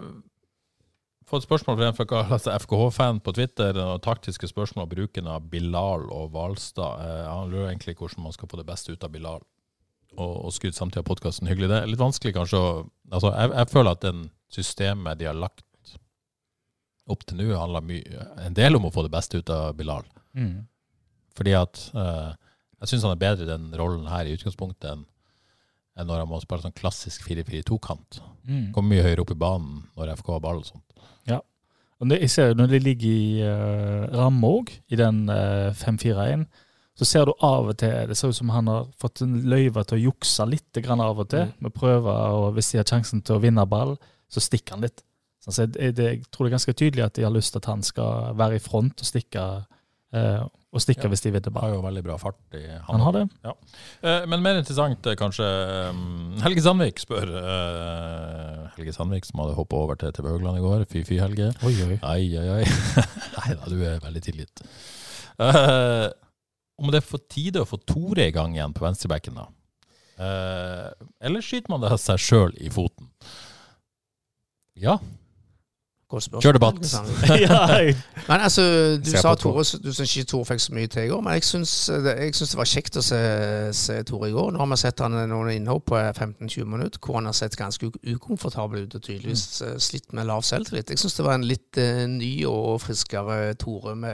Speaker 1: få et spørsmål fra en fra altså FKH-fan på Twitter. Og taktiske spørsmål om bruken av Bilal og Hvalstad. Eh, han lurer egentlig hvordan man skal få det beste ut av Bilal og, og skudd samtidig av podkasten. Hyggelig. Det er litt vanskelig kanskje å altså, jeg, jeg føler at den systemet de har lagt opp til nå, handler mye, en del om å få det beste ut av Bilal. Mm. Fordi at eh, jeg syns han er bedre i den rollen her i utgangspunktet enn enn når han må spille sånn klassisk 4-4-2-kant.
Speaker 3: Mm.
Speaker 1: Kommer mye høyere opp i banen når FK har ball og sånt.
Speaker 3: Og det, jeg ser jo Når de ligger i uh, ramme òg, i den eh, 5-4-1, så ser du av og til Det ser ut som han har fått en løyve til å jukse litt grann av og
Speaker 1: Mm.
Speaker 3: til. Med prøver, og hvis de har sjansen til å vinne ball, så stikker han litt. Sånn, så jeg, jeg, jeg tror det er ganske tydelig at de har lyst til at han skal være i front og stikke, eh, og stikke
Speaker 1: Ja.
Speaker 3: hvis de vinner ball.
Speaker 1: Har jo veldig bra fart i han.
Speaker 3: Han har
Speaker 1: [LAUGHS]
Speaker 3: det.
Speaker 1: Eh, men mer interessant eh, kanskje eh, Helge Sandvik spør eh, Helge Sandvik som hadde hoppet over til TV Haugland i går. Fy-fy, Helge.
Speaker 3: Oi, oi.
Speaker 1: Ai, ai, [LAUGHS] ai. Nei da, du er veldig tilgitt. Eh, om det er på tide å få Tore i gang igjen på venstrebacken, da? Eh, eller skyter man det seg sjøl i foten? Ja.
Speaker 2: Godt spørsmål.
Speaker 1: Kjør debatt.
Speaker 3: [LAUGHS] ja, jeg,
Speaker 2: Men altså, du
Speaker 1: Ser
Speaker 2: sa
Speaker 1: på Tore.
Speaker 2: Tore, du syns ikke Tore fikk så mye til i går, men jeg syns det, jeg syns det var kjekt å se, se Tore i går. Nå har vi sett han eh, noen innhopp på 15-20 minutter hvor han har sett ganske u- ukomfortabel ut og tydeligvis
Speaker 1: Mm.
Speaker 2: eh, slitt med lav selvtillit. Jeg syns det var en litt eh, ny og friskere Tore vi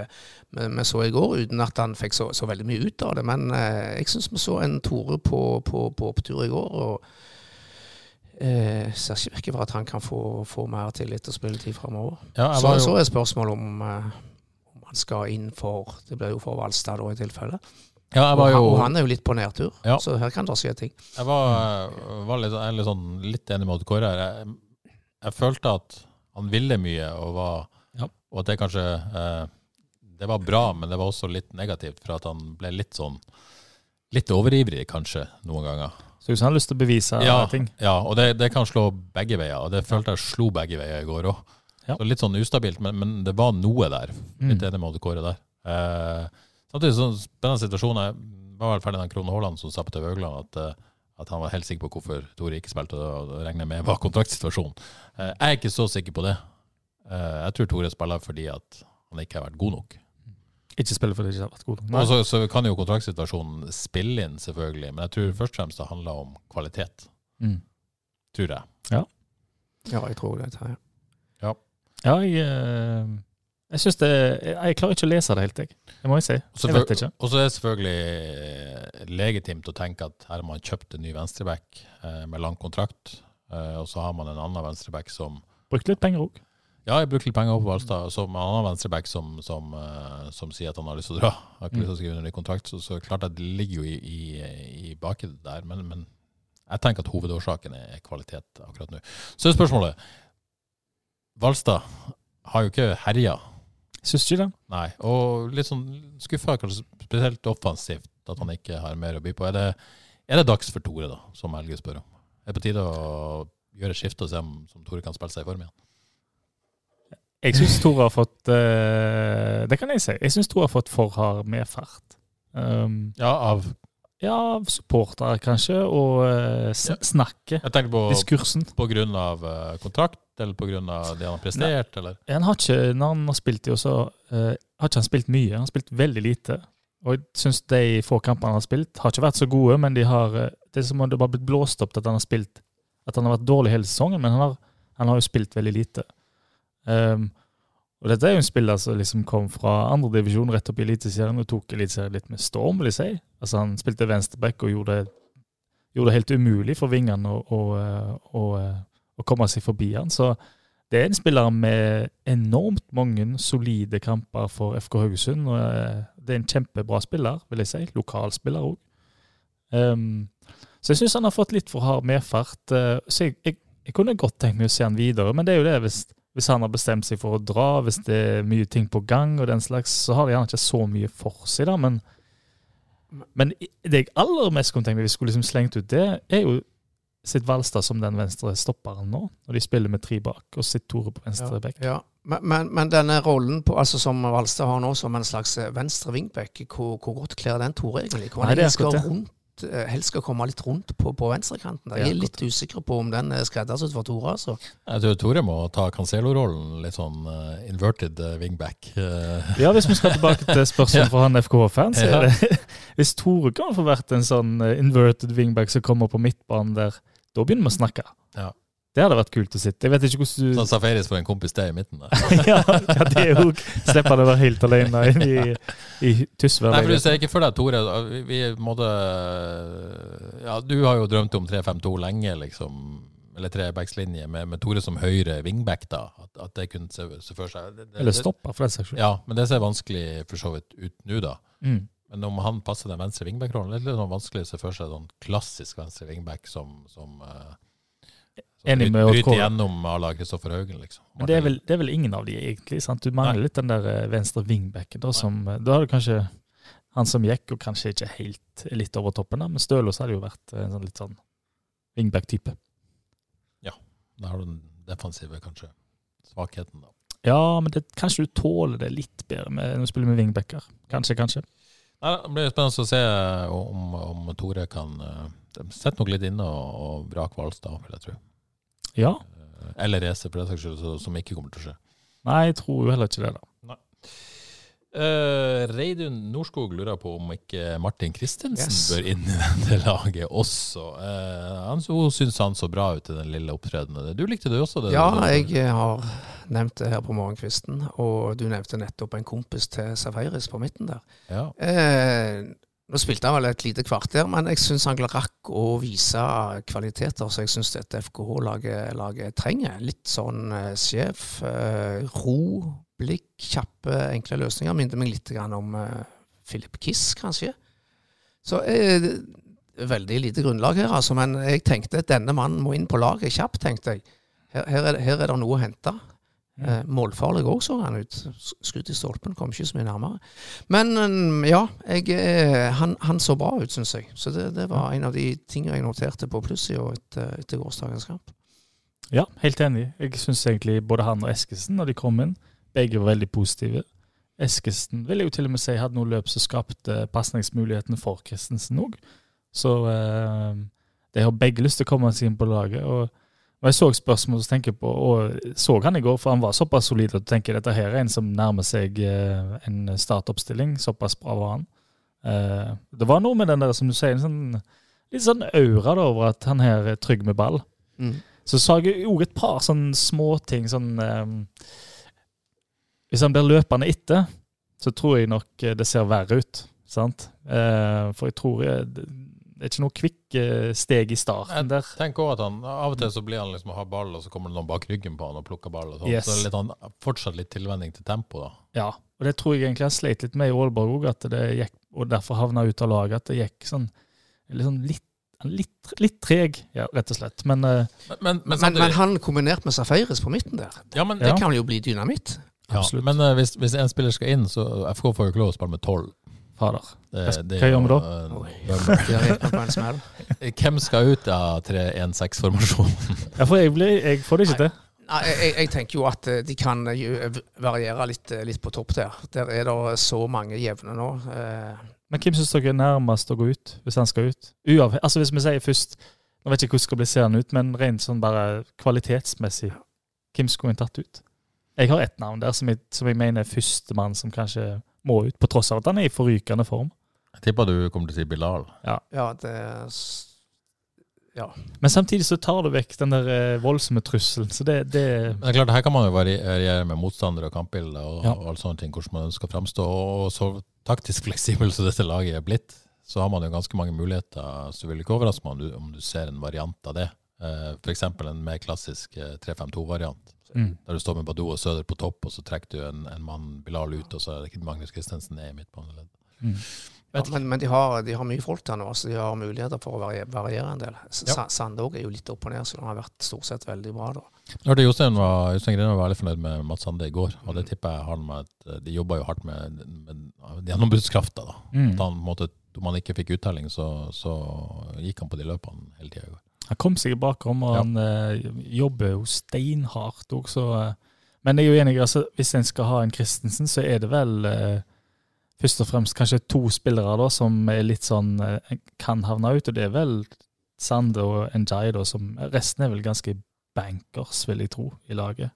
Speaker 2: vi- vi så i går, uten at han fikk så, så veldig mye ut av det. Men eh, jeg syns vi så en Tore på, på, på opptur i går. og Eh, ser ikke vekk fra at han kan få, få mer tillit og spilletid framover.
Speaker 1: ja jeg
Speaker 2: Så,
Speaker 1: var
Speaker 2: så
Speaker 1: jo,
Speaker 2: er spørsmålet om, eh, om han skal inn for Det blir jo for Valstad da, i tilfelle.
Speaker 1: ja, jeg
Speaker 2: Og
Speaker 1: var
Speaker 2: han, og
Speaker 1: jo
Speaker 2: han er jo litt på nedtur,
Speaker 1: Ja.
Speaker 2: så her kan det skje ting.
Speaker 1: Jeg var, var litt, jeg er litt, sånn, litt enig med Odd Kåre her. Jeg, jeg følte at han ville mye, og, var,
Speaker 3: Ja.
Speaker 1: og at det kanskje eh, Det var bra, men det var også litt negativt, for at han ble litt sånn Litt overivrig, kanskje, noen ganger.
Speaker 3: så han har lyst til å bevise
Speaker 1: Ja,
Speaker 3: ting.
Speaker 1: ja og det, det kan slå begge veier, og det følte jeg slo begge veier i går òg.
Speaker 3: Ja. Mm.
Speaker 1: Litt sånn ustabilt, men, men det var noe der. Litt enig med Odd Kåre der. Eh, samtidig så spennende situasjon Jeg var vel ferdig med den Krone Haaland som sa på TV Haugland at, eh, at han var helt sikker på hvorfor Tore ikke spilte, og det regner jeg med var kontraktsituasjonen. Eh, jeg er ikke så sikker på det. Eh, jeg tror Tore spiller fordi at han ikke har vært god nok.
Speaker 3: Ikke spille fordi de ikke har vært gode.
Speaker 1: Og så, så kan jo kontraktsituasjonen spille inn, selvfølgelig, men jeg tror først og fremst det handler om kvalitet.
Speaker 3: Mm.
Speaker 1: Tror jeg.
Speaker 2: Ja, jeg tror det. Terje.
Speaker 3: Ja, jeg, eh, jeg syns det jeg, jeg klarer ikke å lese det helt, jeg. Det må jeg si.
Speaker 1: Og så
Speaker 3: Jeg vet ikke.
Speaker 1: Og så er det selvfølgelig legitimt å tenke at her har man kjøpt en ny venstreback eh, med lang kontrakt, eh, og så har man en annen venstreback som
Speaker 3: Brukt litt penger òg.
Speaker 1: Ja, jeg bruker litt penger på Hvalstad, og så med en annen venstreback som, som, eh, som sier at han har lyst til å dra. Har ikke lyst til å skrive under ny kontrakt, så, så klart at det ligger jo i, i, i bakhodet der. Men, men jeg tenker at hovedårsaken er er kvalitet akkurat nå. Så er spørsmålet Hvalstad har jo ikke herja
Speaker 3: Syns ikke det.
Speaker 1: Nei, og litt sånn skuffa, kanskje spesielt offensivt, at han ikke har mer å by på. Er det, er det dags for Tore, da, som Helge spør om? Er det på tide å gjøre et skifte og se om, om Tore kan spille seg i form igjen?
Speaker 3: Jeg syns Tore har fått eh, Det kan jeg si. Jeg syns Tore har fått for hard medfart. Um,
Speaker 1: Ja, av
Speaker 3: ja, av supportere kanskje, og eh, s-
Speaker 1: Ja.
Speaker 3: snakket.
Speaker 1: Jeg tenker på,
Speaker 3: Diskursen.
Speaker 1: på grunn av eh, kontrakt, eller på grunn av det han har prestert, eller
Speaker 3: Han har ikke, når han har spilt i år, så eh, har ikke han spilt mye. Han har spilt veldig lite. Og jeg syns de få kampene han har spilt, har ikke vært så gode, men de har eh, Det er som om det bare har blitt blåst opp til at han har spilt At han har vært dårlig hele sesongen, men han har, han har jo spilt veldig lite. Um, Og dette er jo en spiller som liksom kom fra andredivisjon rett opp i Eliteserien og tok Eliteserien litt med storm, vil jeg si. Altså Han spilte venstreback og gjorde, gjorde det helt umulig for vingene å, å, eh, å, eh, å komme seg forbi han. Så det er en spiller med enormt mange solide kamper for FK Haugesund. og eh, Det er en kjempebra spiller, vil jeg si. Lokalspiller òg. Ehm, så jeg syns han har fått litt for hard medfart. eh, så jeg, jeg, jeg kunne godt tenkt meg å se han videre, men det er jo det hvis, hvis han har bestemt seg for å dra, hvis det er mye ting på gang og den slags, så har de gjerne ikke så mye for seg, da. Men, men i- det jeg aller mest kunne tenkt meg, hvis jeg skulle liksom slengt ut det, er jo sitt Valstad som den venstre stopperen nå, når de spiller med tre bak, og sitt Tore på venstre bekk.
Speaker 2: Ja, men, men, men denne rollen på, altså som Valstad har nå, som en slags eh, venstre wingback, hvor, hvor godt kler den Tore egentlig? Hvor
Speaker 3: Nei,
Speaker 2: han
Speaker 3: det er
Speaker 2: helst skal,
Speaker 3: akkurat det.
Speaker 2: rundt, eh, helst skal komme litt rundt på, på venstrekanten. der.
Speaker 3: Det er
Speaker 2: Jeg er litt usikker på om den er skreddersydd for Tore. altså.
Speaker 1: Jeg tror Tore må ta Cancelo-rollen, litt sånn eh, inverted eh, wingback. eh.
Speaker 3: Ja, hvis vi skal tilbake til
Speaker 1: [LAUGHS]
Speaker 3: spørsmålet fra han FKH-fan, så er
Speaker 1: Ja.
Speaker 3: det [LAUGHS] Hvis Tore kan få vært en sånn eh, inverted wingback som kommer på midtbanen der, da begynner vi å snakke.
Speaker 1: Ja.
Speaker 3: Det hadde vært kult å sitte. Jeg vet ikke hvordan du
Speaker 1: Sånn Safaris for en kompis der i midten. Der.
Speaker 3: [LAUGHS] ja, ja, det er jo Slipp han å være helt alene inn i, i Tysvær.
Speaker 1: Nei, for du ser ikke for deg, Tore. Vi, vi måtte Ja, du har jo drømt om 3-5-2 lenge, liksom. Eller trebackslinje, med, med Tore som høyre wingback, da. At, at det kunne se, se for seg det, det,
Speaker 3: Eller stopper, for den saks skyld.
Speaker 1: Ja, men det ser vanskelig for så vidt ut nå, da.
Speaker 3: Mm.
Speaker 1: Men om han passer den venstre wingback-rollen, det er litt sånn vanskelig å se for seg sånn klassisk venstre wingback som, som, eh, som
Speaker 3: Enig
Speaker 1: bryt-
Speaker 3: med Odd
Speaker 1: bryter
Speaker 3: Kåre.
Speaker 1: gjennom à la Kristoffer Haugen, liksom.
Speaker 3: Men det er, vel, det er vel ingen av de, egentlig. sant? Du
Speaker 1: Nei.
Speaker 3: mangler litt den der eh, venstre wingbacken. Da, som, eh, da har du kanskje han som gikk, og kanskje ikke helt er litt over toppen, da, men Stølås hadde jo vært eh, en sånn litt sånn wingback-type.
Speaker 1: Da har du den defensive, kanskje, svakheten, da.
Speaker 3: Ja, men det, kanskje du tåler det litt bedre med, når du spiller med wingbacker. Kanskje, kanskje.
Speaker 1: Nei, det blir spennende å se eh, om, om Tore kan eh, de Sett nok litt inne og, og vrake Hvalstad, vil jeg tro.
Speaker 3: Ja.
Speaker 1: Eller Racer, for den saks skyld, så- som ikke kommer til å skje.
Speaker 3: Nei, jeg tror jo heller ikke det, da.
Speaker 1: Eh, Reidun Norskog lurer på om ikke Martin Christensen
Speaker 2: Yes.
Speaker 1: bør inn i [LAUGHS] dette laget også. Eh, han, hun syns han så bra ut i den lille opptredenen. Du likte det også? det
Speaker 2: Ja,
Speaker 1: du-
Speaker 2: jeg eh, har nevnt det her på morgenkvisten, og du nevnte nettopp en kompis til Safaris på midten der.
Speaker 1: Ja.
Speaker 2: Eh, nå spilte han vel et lite kvarter, men jeg syns han rakk å vise kvaliteter som jeg syns dette FKH-laget laget trenger. Litt sånn eh, sjef, eh, ro, blikk, kjappe, enkle løsninger. Minner meg litt grann om eh, Philip Kiss, kanskje. Så eh, det er veldig lite grunnlag her, altså. Men jeg tenkte at denne mannen må inn på laget kjapt, tenkte jeg. Her, her, er, her er det noe å hente. Eh, målfarlig òg, så han ut. S- Skudd i stolpen, kom ikke så mye nærmere. Men eh, ja, jeg, eh, han, han så bra ut, syns jeg. Så det, det var en av de tingene jeg noterte på plussida etter, eh, etter gårsdagens kamp.
Speaker 3: Ja, helt enig. Jeg syns egentlig både han og Eskesen, når de kom inn, begge var veldig positive. Eskesen vil jeg jo til og med si hadde noe løp som skapte pasningsmulighetene for Christensen òg. Så eh, de har begge lyst til å komme seg inn på laget. og og jeg så spørsmål som tenker på, og så han i går, for han var såpass solid at du tenker dette her er en som nærmer seg eh, en startoppstilling. Såpass bra var han. Eh, det var noe med den der, som du sier, en sånn, litt sånn aura da, over at han her er trygg med ball.
Speaker 2: Mm.
Speaker 3: Så sa jeg òg et par sånne småting sånn eh, Hvis han blir løpende etter, så tror jeg nok eh, det ser verre ut. sant? Eh, for jeg tror jeg, det er ikke noe kvikk eh, steg i starten der.
Speaker 1: Tenk også at han, Av og til så blir han liksom har ball, og så kommer det noen bak ryggen på han og plukker ball. og sånn.
Speaker 3: Yes.
Speaker 1: Så det er litt, han, fortsatt litt tilvenning til tempo, da.
Speaker 3: Ja, og det tror jeg egentlig han sleit litt med i Aalborg òg, at det gikk, og derfor havna ut av laget. At det gikk sånn, liksom litt, han er litt, litt treg, ja, rett og slett. Men eh,
Speaker 1: Men, men, men,
Speaker 2: Men,
Speaker 1: samtidig-
Speaker 2: men han kombinert med Safaris på midten der,
Speaker 1: ja, men,
Speaker 2: det
Speaker 3: Ja.
Speaker 2: kan jo bli dynamitt.
Speaker 1: ja,
Speaker 3: absolutt.
Speaker 1: men eh, hvis, hvis en spiller skal inn, så FK får jo ikke lov å spille med tolv.
Speaker 3: fader.
Speaker 1: Det,
Speaker 3: Hva-
Speaker 1: det
Speaker 3: hva
Speaker 1: er jo
Speaker 3: gjør vi da?
Speaker 1: en
Speaker 2: Oi.
Speaker 1: bummer.
Speaker 2: Der gikk han på en smell.
Speaker 1: [LAUGHS] Hvem skal ut av
Speaker 3: [LAUGHS]
Speaker 1: 3-1-6-formasjonen?
Speaker 3: Ja, for jeg, blir, jeg får det ikke til.
Speaker 2: [LAUGHS] Nei, jeg, jeg- jeg tenker jo at eh, de kan eh, ju- variere litt, eh, litt på topp der. Der er det så mange jevne nå. eh,
Speaker 3: Men hvem syns dere er nærmest å gå ut, hvis han skal ut? Uavhengig, altså Hvis vi sier først Nå vet jeg ikke hvordan skal bli seende ut, men rent sånn bare kvalitetsmessig, hvem skulle en tatt ut? Jeg har ett navn der som jeg, som jeg mener er førstemann som kanskje må ut, på tross av at han er i forrykende form.
Speaker 1: Jeg tipper du kommer til å si Bilal.
Speaker 2: Ja, det s- Ja.
Speaker 3: Men samtidig så tar du vekk den der eh, voldsomme trusselen. Så det, det
Speaker 1: Men det er klart, Her kan man jo vari- variere med motstandere og kampbilder og,
Speaker 3: Ja.
Speaker 1: og alle sånne ting, hvordan man ønsker å framstå. Og så taktisk [LAUGHS] fleksibel som dette laget er blitt, så har man jo ganske mange muligheter. Så det vil ikke overraske meg om du, om du ser en variant av det. Eh, for eksempel en mer klassisk eh, 3-5-2-variant,
Speaker 3: mm.
Speaker 1: der du står med Badou og Søder på topp, og så trekker du en, en mann Bilal ut, og så er det ikke Magnus Christensen er i midtbaneleddet.
Speaker 3: Mm.
Speaker 2: Ja, men men de, har, de har mye folk der nå, så de har muligheter for å variere, variere en del. S-
Speaker 1: Ja.
Speaker 2: Sa- Sandåg er jo litt opp og ned, så han har vært stort sett veldig bra. da.
Speaker 1: Jeg hørte Jostein var, Jostein Grine var veldig fornøyd med Mats Sande i går, og det tipper jeg har med at eh, de jobber jo hardt med, med gjennombruddskrafta, da.
Speaker 3: Mm.
Speaker 1: At han, på en måte, om han ikke fikk uttelling, så, så gikk han på de løpene hele tida i går.
Speaker 3: Han kom seg bakrom, og
Speaker 1: Ja.
Speaker 3: han eh, jobber jo steinhardt òg, så eh, Men jeg er jo enig, altså, hvis en skal ha en Christensen, så er det vel eh, først og fremst kanskje to spillere da, som er litt sånn eh, kan havne ut, og det er vel Sande og Njay, da, som Resten er vel ganske bankers, vil jeg tro, i laget.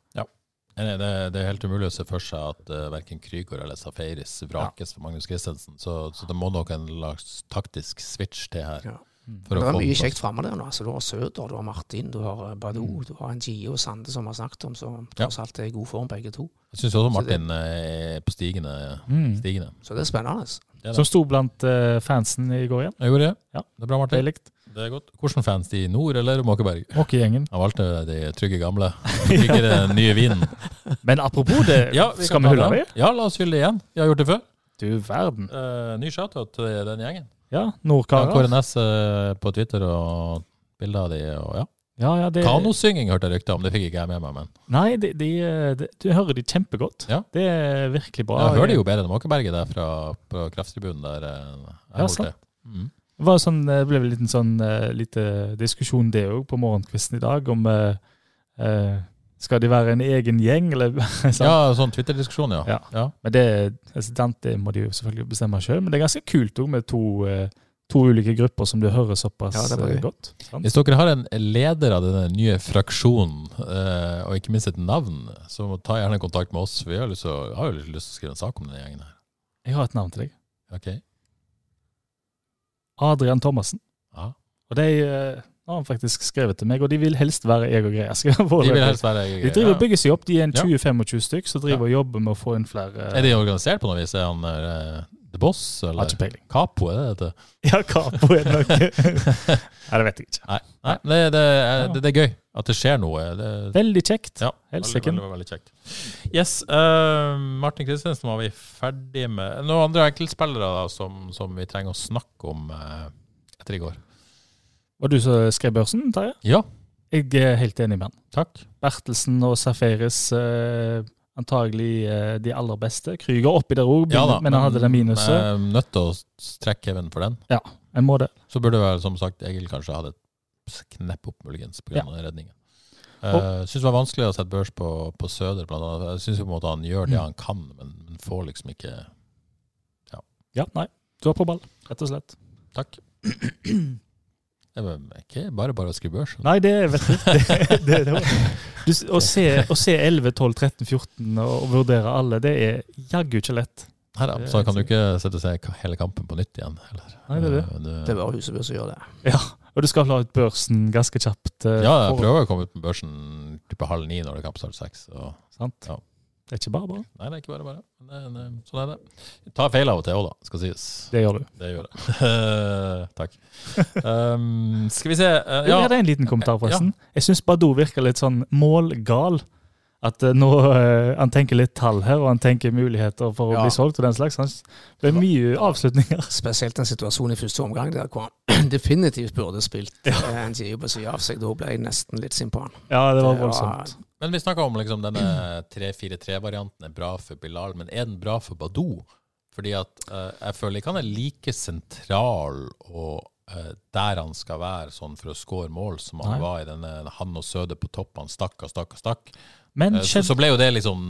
Speaker 1: Nei, nei, Det, det er helt umulig å se for seg at uh, verken Krygård eller Safaris vrakes for Magnus Christensen, så, så det må nok en slags taktisk switch til her.
Speaker 2: Ja.
Speaker 1: for å få
Speaker 2: Det er
Speaker 1: den
Speaker 2: mye
Speaker 1: plass.
Speaker 2: kjekt framme der nå. altså Du har Søder, du har Martin, du har eh, Badou, du har Njie og Sande, som vi har snakket om, som
Speaker 1: Ja.
Speaker 2: tross alt er i god form, begge to.
Speaker 1: Jeg syns også
Speaker 2: Så det-
Speaker 1: Martin eh, er på stigende.
Speaker 3: Mm.
Speaker 1: stigende.
Speaker 2: Så det er spennende.
Speaker 1: Ja, da.
Speaker 3: Som sto blant eh, fansen i går igjen.
Speaker 1: Jeg gjorde det.
Speaker 3: Ja.
Speaker 1: Det er bra, Martin.
Speaker 3: Deilig.
Speaker 1: Det er godt. Hvordan fans de i nord eller Måkeberg?
Speaker 3: Måkegjengen.
Speaker 1: Han valgte de trygge gamle. Ikke den nye
Speaker 3: [LAUGHS]
Speaker 1: vinen.
Speaker 3: Men apropos
Speaker 1: [LAUGHS]
Speaker 3: det, skal vi hylle dem?
Speaker 1: Ja, la oss hylle det igjen. Vi har gjort det før.
Speaker 3: Du verden.
Speaker 1: Eh, ny shoutout til den gjengen.
Speaker 3: Ja,
Speaker 1: Ja, Kåre
Speaker 3: Nordkarer.
Speaker 1: Næss eh, på Twitter og bilder av de og ja.
Speaker 3: Ja, ja, det-
Speaker 1: Kanosynging hørte jeg rykter om, det fikk ikke jeg med meg, men
Speaker 3: Nei, de, de, de, du hører de kjempegodt.
Speaker 1: Ja.
Speaker 3: Det er virkelig bra.
Speaker 1: jeg hører det jo bedre enn Måkeberget der fra på krafttribunen der eh, jeg
Speaker 3: Ja,
Speaker 1: holdt
Speaker 3: sant.
Speaker 1: til. Mm.
Speaker 3: Det var sånn, det ble vel en liten sånn, eh, lite diskusjon det òg på morgenkvisten i dag, om eh, eh, skal de være en egen gjeng, eller [LAUGHS] sant?
Speaker 1: Ja, sånn Twitter-diskusjon, ja.
Speaker 3: Ja. Men det, altså, Dante må de jo selvfølgelig bestemme sjøl, men det er ganske kult òg med to, eh, to ulike grupper som du hører såpass
Speaker 2: Ja, det var
Speaker 3: eh,
Speaker 2: gøy.
Speaker 3: godt. Sant?
Speaker 1: Hvis dere har en leder av denne nye fraksjonen, eh, og ikke minst et navn, så ta gjerne kontakt med oss. Vi har, lyst til å, har jo lyst til å skrive en sak om denne gjengen her.
Speaker 3: Jeg har et navn til deg.
Speaker 1: Ok?
Speaker 3: Adrian Thomassen.
Speaker 1: Ja.
Speaker 3: Og de eh, har han faktisk skrevet til meg, og de vil helst være jeg og Greia. Skal jeg
Speaker 1: De
Speaker 3: foreløpig-
Speaker 1: vil helst være
Speaker 3: De driver og bygger seg opp. De er en
Speaker 1: Ja.
Speaker 3: 20-25 stykk som driver og jobber med å få inn flere.
Speaker 1: Er de organisert på noe vis? Er han eh, The Boss,
Speaker 3: Har
Speaker 1: eller
Speaker 3: ikke peiling.
Speaker 1: Capo? Er det det? heter?
Speaker 3: [LAUGHS] Ja, Capo er
Speaker 1: [LAUGHS]
Speaker 3: nok Nei, det vet jeg ikke.
Speaker 1: Nei, Nei det, det, er- det, det er gøy at det skjer noe. Det,
Speaker 3: Veldig kjekt.
Speaker 1: ja,
Speaker 3: Helsike.
Speaker 1: veldig, veldig, veldig kjekt. Yes, eh, Martin Kristiansen var vi ferdig med. Noen andre enkeltspillere da, som, som vi trenger å snakke om eh, etter i går?
Speaker 3: Var du som skrev børsen, Terje?
Speaker 1: Ja,
Speaker 3: Jeg er helt enig med han.
Speaker 1: takk.
Speaker 3: Bertelsen og Safaris eh, antagelig eh, de aller beste. Krüger oppi der òg,
Speaker 1: Ja da,
Speaker 3: men han hadde det minuset.
Speaker 1: eh, nødt til å s- trekke Kevin for den.
Speaker 3: Jeg må det.
Speaker 1: Så burde vel, som sagt, Egil kanskje ha et knepp opp, muligens, pga. den redningen. Uh, syns det var vanskelig å sette børs på, på Søder, blant annet. Jeg syns på en måte han gjør det
Speaker 3: Mm.
Speaker 1: han kan, men, men får liksom ikke
Speaker 3: Ja, nei. Du er på ball, rett og slett.
Speaker 1: Takk. Det er vel ikke bare bare å skrive børs.
Speaker 3: Nei, [LAUGHS] det er vet du. Det, det, det var. Du, s- å, se, å se 11, 12, 13, 14 og, og vurdere alle, det er jaggu ikke lett.
Speaker 1: Her, da.
Speaker 3: Det er
Speaker 1: Så
Speaker 3: helt
Speaker 1: kan du ikke sette og se ka- hele kampen på nytt igjen, heller.
Speaker 3: Nei, det er det.
Speaker 1: Eh,
Speaker 2: Det er bare Huseby som gjør det.
Speaker 3: Og du skal ha ut børsen ganske kjapt. eh,
Speaker 1: ja, jeg
Speaker 3: for-
Speaker 1: prøver å komme ut på børsen type halv ni når det er kampstart seks. Og
Speaker 3: Sant?
Speaker 1: Ja.
Speaker 3: Det er ikke bare bare.
Speaker 1: nei, det er ikke bare bare. Men det er en, eh, sånn er det. Ta feil av og til òg, da, skal sies.
Speaker 3: Det gjør du.
Speaker 1: Det gjør jeg. [LAUGHS] Eh, takk. Um, skal vi se eh,
Speaker 3: Jeg
Speaker 1: ja.
Speaker 3: hadde en liten kommentar, forresten. Jeg syns Badou virker litt sånn målgal. At eh, nå eh, Han tenker litt tall her, og han tenker muligheter for å
Speaker 2: Ja.
Speaker 3: bli solgt og den slags. Han, s- det er mye avslutninger. [LAUGHS]
Speaker 2: Spesielt en situasjon i første omgang der hvor han [CLEARS THROAT] definitivt burde spilt eh, Njie på siden av seg. Da ble jeg nesten litt sint på han.
Speaker 3: Ja, det var
Speaker 2: Det var-
Speaker 3: voldsomt.
Speaker 1: Men vi snakka om liksom denne 3-4-3-varianten er bra for Bilal, men er den bra for Badou? Fordi at eh, jeg føler ikke han er like sentral og eh, der han skal være sånn for å score mål, som han
Speaker 3: Nei.
Speaker 1: var i denne han og Søde på topp. Han stakk og stakk og stakk.
Speaker 3: Men
Speaker 1: Eh, så,
Speaker 3: skjedde,
Speaker 1: så ble jo det liksom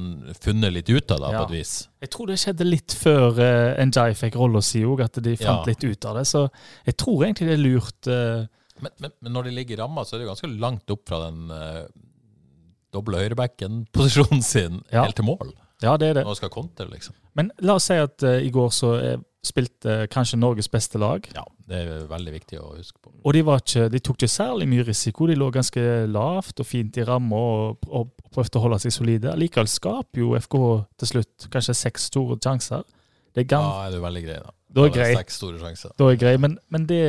Speaker 1: funnet litt ut av, da,
Speaker 3: Ja.
Speaker 1: på et vis.
Speaker 3: jeg tror det skjedde litt før uh, Njay fikk rolla si òg, at de fant
Speaker 1: Ja.
Speaker 3: litt ut av det. Så jeg tror egentlig det er lurt. eh,
Speaker 1: Men, men, men når de ligger i ramma, så er det jo ganske langt opp fra den eh, doble høyrebacken-posisjonen sin
Speaker 3: Ja.
Speaker 1: helt til mål.
Speaker 3: Ja, det er det.
Speaker 1: Nå skal Conte, liksom.
Speaker 3: Men la oss si at eh, i går så eh, spilte eh, kanskje Norges beste lag.
Speaker 1: Ja, det er veldig viktig å huske på.
Speaker 3: Og de, var ikke, de tok ikke særlig mye risiko. De lå ganske lavt og fint i ramma og, og prøvde å holde seg solide. Likevel skaper jo FK til slutt kanskje seks store sjanser. Det er
Speaker 1: Da
Speaker 3: gans
Speaker 1: er du veldig grei, da.
Speaker 3: Da er
Speaker 1: det
Speaker 3: grei.
Speaker 1: Seks store sjanser.
Speaker 3: da er grei, men, men det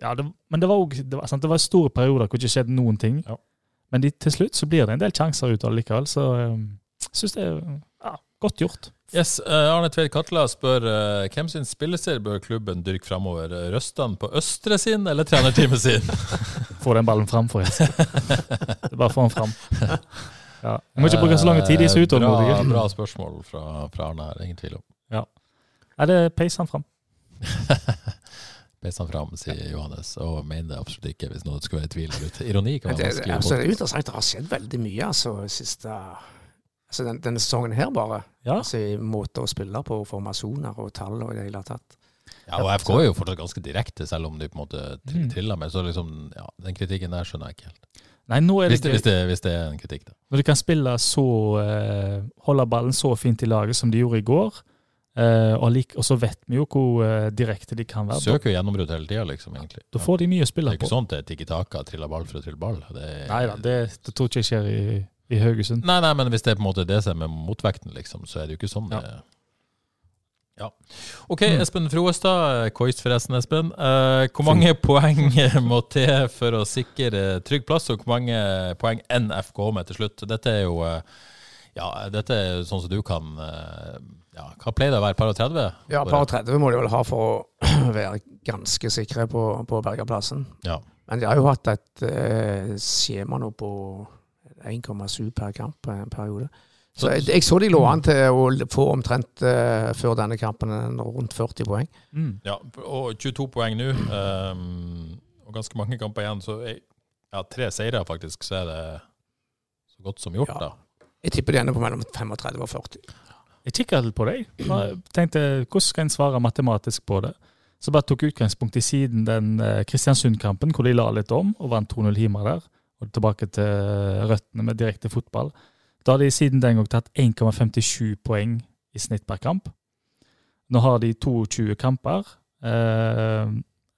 Speaker 3: ja, det, men det var òg det, var- sant, det var store perioder hvor det ikke skjedde noen ting.
Speaker 1: Ja.
Speaker 3: Men de, til slutt så blir det en del sjanser ut av det likevel, så jeg syns det er ja, godt gjort.
Speaker 1: Yes, eh, Arne Tveit Katla spør eh, hvem sin spillestil bør klubben dyrke framover. Røstan på Østre sin eller trenerteamet sin?
Speaker 3: Få den ballen fram,
Speaker 1: [LAUGHS]
Speaker 3: forresten. Det er bare å få den fram. Ja. Du må ikke bruke så lang tid, de er så
Speaker 1: Eh, Bra,
Speaker 3: utålmodige.
Speaker 1: bra spørsmål fra, fra Arne her, ingen tvil om.
Speaker 3: Ja, det peiser han fram.
Speaker 1: [LAUGHS] Peis han fram, sier Johannes, og mener det absolutt ikke, hvis noen skulle være i tvil. der ute. Ironi kan
Speaker 2: Men Det,
Speaker 1: være
Speaker 2: det, altså, det
Speaker 1: vanskelig.
Speaker 2: er jo interessant. Det har skjedd veldig mye altså, siste, altså, den, denne sesongen her, bare.
Speaker 3: Ja.
Speaker 2: Altså, I måter å spille på, formasjoner og tall og i det hele tatt.
Speaker 1: å- Ja, og FK er jo fortsatt ganske direkte, selv om de på en måte
Speaker 3: Mm.
Speaker 1: tr- triller med. Så liksom, ja, den kritikken der skjønner jeg ikke helt.
Speaker 3: Nei, nå er det
Speaker 1: Hvis det,
Speaker 3: gøy.
Speaker 1: hvis det, hvis det er en kritikk, da.
Speaker 3: Når de kan spille så eh, Holde ballen så fint i laget som de gjorde i går, eh, og, lik, og så vet vi jo hvor eh, direkte de kan være.
Speaker 1: Søker jo gjennombrudd hele tida, liksom, egentlig.
Speaker 3: Da får de mye å
Speaker 1: det
Speaker 3: spille
Speaker 1: er
Speaker 3: på.
Speaker 1: ikke sånn at det er tiki-taka, triller ball for å trille ball. Det er,
Speaker 3: Nei da, det, det tror ikke jeg skjer i, i Haugesund.
Speaker 1: Nei, nei, men hvis det er på en måte det som er motvekten, liksom, så er det jo ikke sånn.
Speaker 3: Ja.
Speaker 1: det- ja. OK, Espen Froestad. Koist forresten, Espen. Eh, hvor mange poeng [LAUGHS] må til for å sikre trygg plass, og hvor mange poeng NFK med til slutt? Dette er jo eh, ja, dette er sånn som du kan eh, ja, Hva pleier det å være? Par og 30?
Speaker 2: Ja,
Speaker 1: Bare-
Speaker 2: par 30 må de vel ha for å [CLEARS THROAT] være ganske sikre på, på Bergerplassen.
Speaker 1: Ja.
Speaker 2: Men de har jo hatt et eh, skjema nå på 1,7 per kamp på en periode. Så jeg, jeg så de lå an til å få omtrent eh, før denne kampen en rundt 40 poeng.
Speaker 3: Mm.
Speaker 1: Ja, og 22 poeng nå, ehm, og ganske mange kamper igjen, så jeg, ja, tre seire faktisk, så er det så godt som gjort,
Speaker 2: Ja.
Speaker 1: da.
Speaker 2: Jeg tipper de ender på mellom 35 og 40.
Speaker 3: Jeg kikket litt på deg. Jeg tenkte, Hvordan skal en svare matematisk på det? Så bare tok utgangspunkt i siden den eh, Kristiansund-kampen, hvor de la litt om og vant 2-0 Himer der. Og tilbake til eh, røttene med direkte fotball. Da har de siden den gang tatt 1,57 poeng i snitt per kamp. Nå har de 22 kamper. Eh,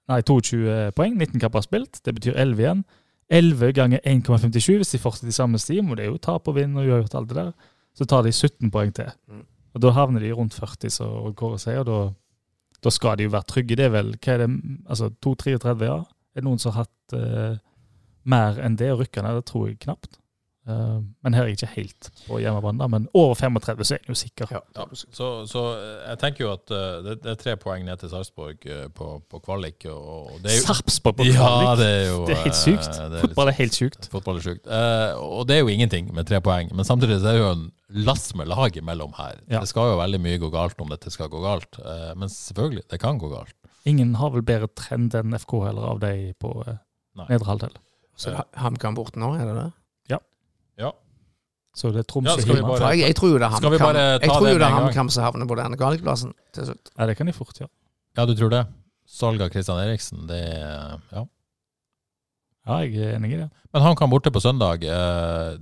Speaker 3: nei, 22 poeng. 19 kamper spilt. Det betyr 11 igjen. 11 ganger 1,57 hvis de fortsetter i samme stim, og det er jo tap og vinn og uavgjort alt det der. Så tar de 17 poeng til. Og Da havner de rundt 40, så og Kåre sier, og da, da skal de jo være trygge. Det er vel hva er det, altså 2-33, ja. Er det noen som har hatt eh, mer enn det og rykka ned? Det tror jeg knapt. Eh, men her er jeg ikke helt på hjemmebane, da, men over 35 så er jeg jo sikker.
Speaker 1: Ja, så, så eh, jeg tenker jo at eh, det, det er tre poeng ned til Sarpsborg eh, på, på kvalik. Og, og det er jo,
Speaker 3: Sarpsborg på
Speaker 1: Ja,
Speaker 3: kvalik!
Speaker 1: det er jo
Speaker 3: det er helt
Speaker 1: eh,
Speaker 3: sykt.
Speaker 1: det er litt
Speaker 3: Fotball er helt sjukt.
Speaker 1: Fotball er sjukt. Eh, og det er jo ingenting med tre poeng, men samtidig så er det jo en lass med lag imellom her.
Speaker 3: Ja.
Speaker 1: Det skal jo veldig mye gå galt om dette skal gå galt, eh, men selvfølgelig, det kan gå galt.
Speaker 3: Ingen har vel bedre trend enn FK heller av de på eh,
Speaker 1: Nei.
Speaker 3: nedre halvdel.
Speaker 2: Så er HamKam borte nå, er det det?
Speaker 3: Så det er
Speaker 1: Ja,
Speaker 3: Tromsø
Speaker 1: skal vi
Speaker 3: Himer.
Speaker 1: bare-
Speaker 2: For jeg, jeg tror jo det er
Speaker 1: Skal vi
Speaker 2: HamKam
Speaker 1: bare ta
Speaker 2: Jeg tror
Speaker 1: det
Speaker 2: jo det
Speaker 1: med
Speaker 2: er
Speaker 1: en gang?
Speaker 2: HamKam som havner på denne galplassen til slutt.
Speaker 3: Ja, det kan de fort gjøre.
Speaker 1: Ja, du tror det? Salg av Christian Eriksen, det er Ja.
Speaker 3: Ja, jeg er enig i det.
Speaker 1: Men han kan borte på søndag. eh,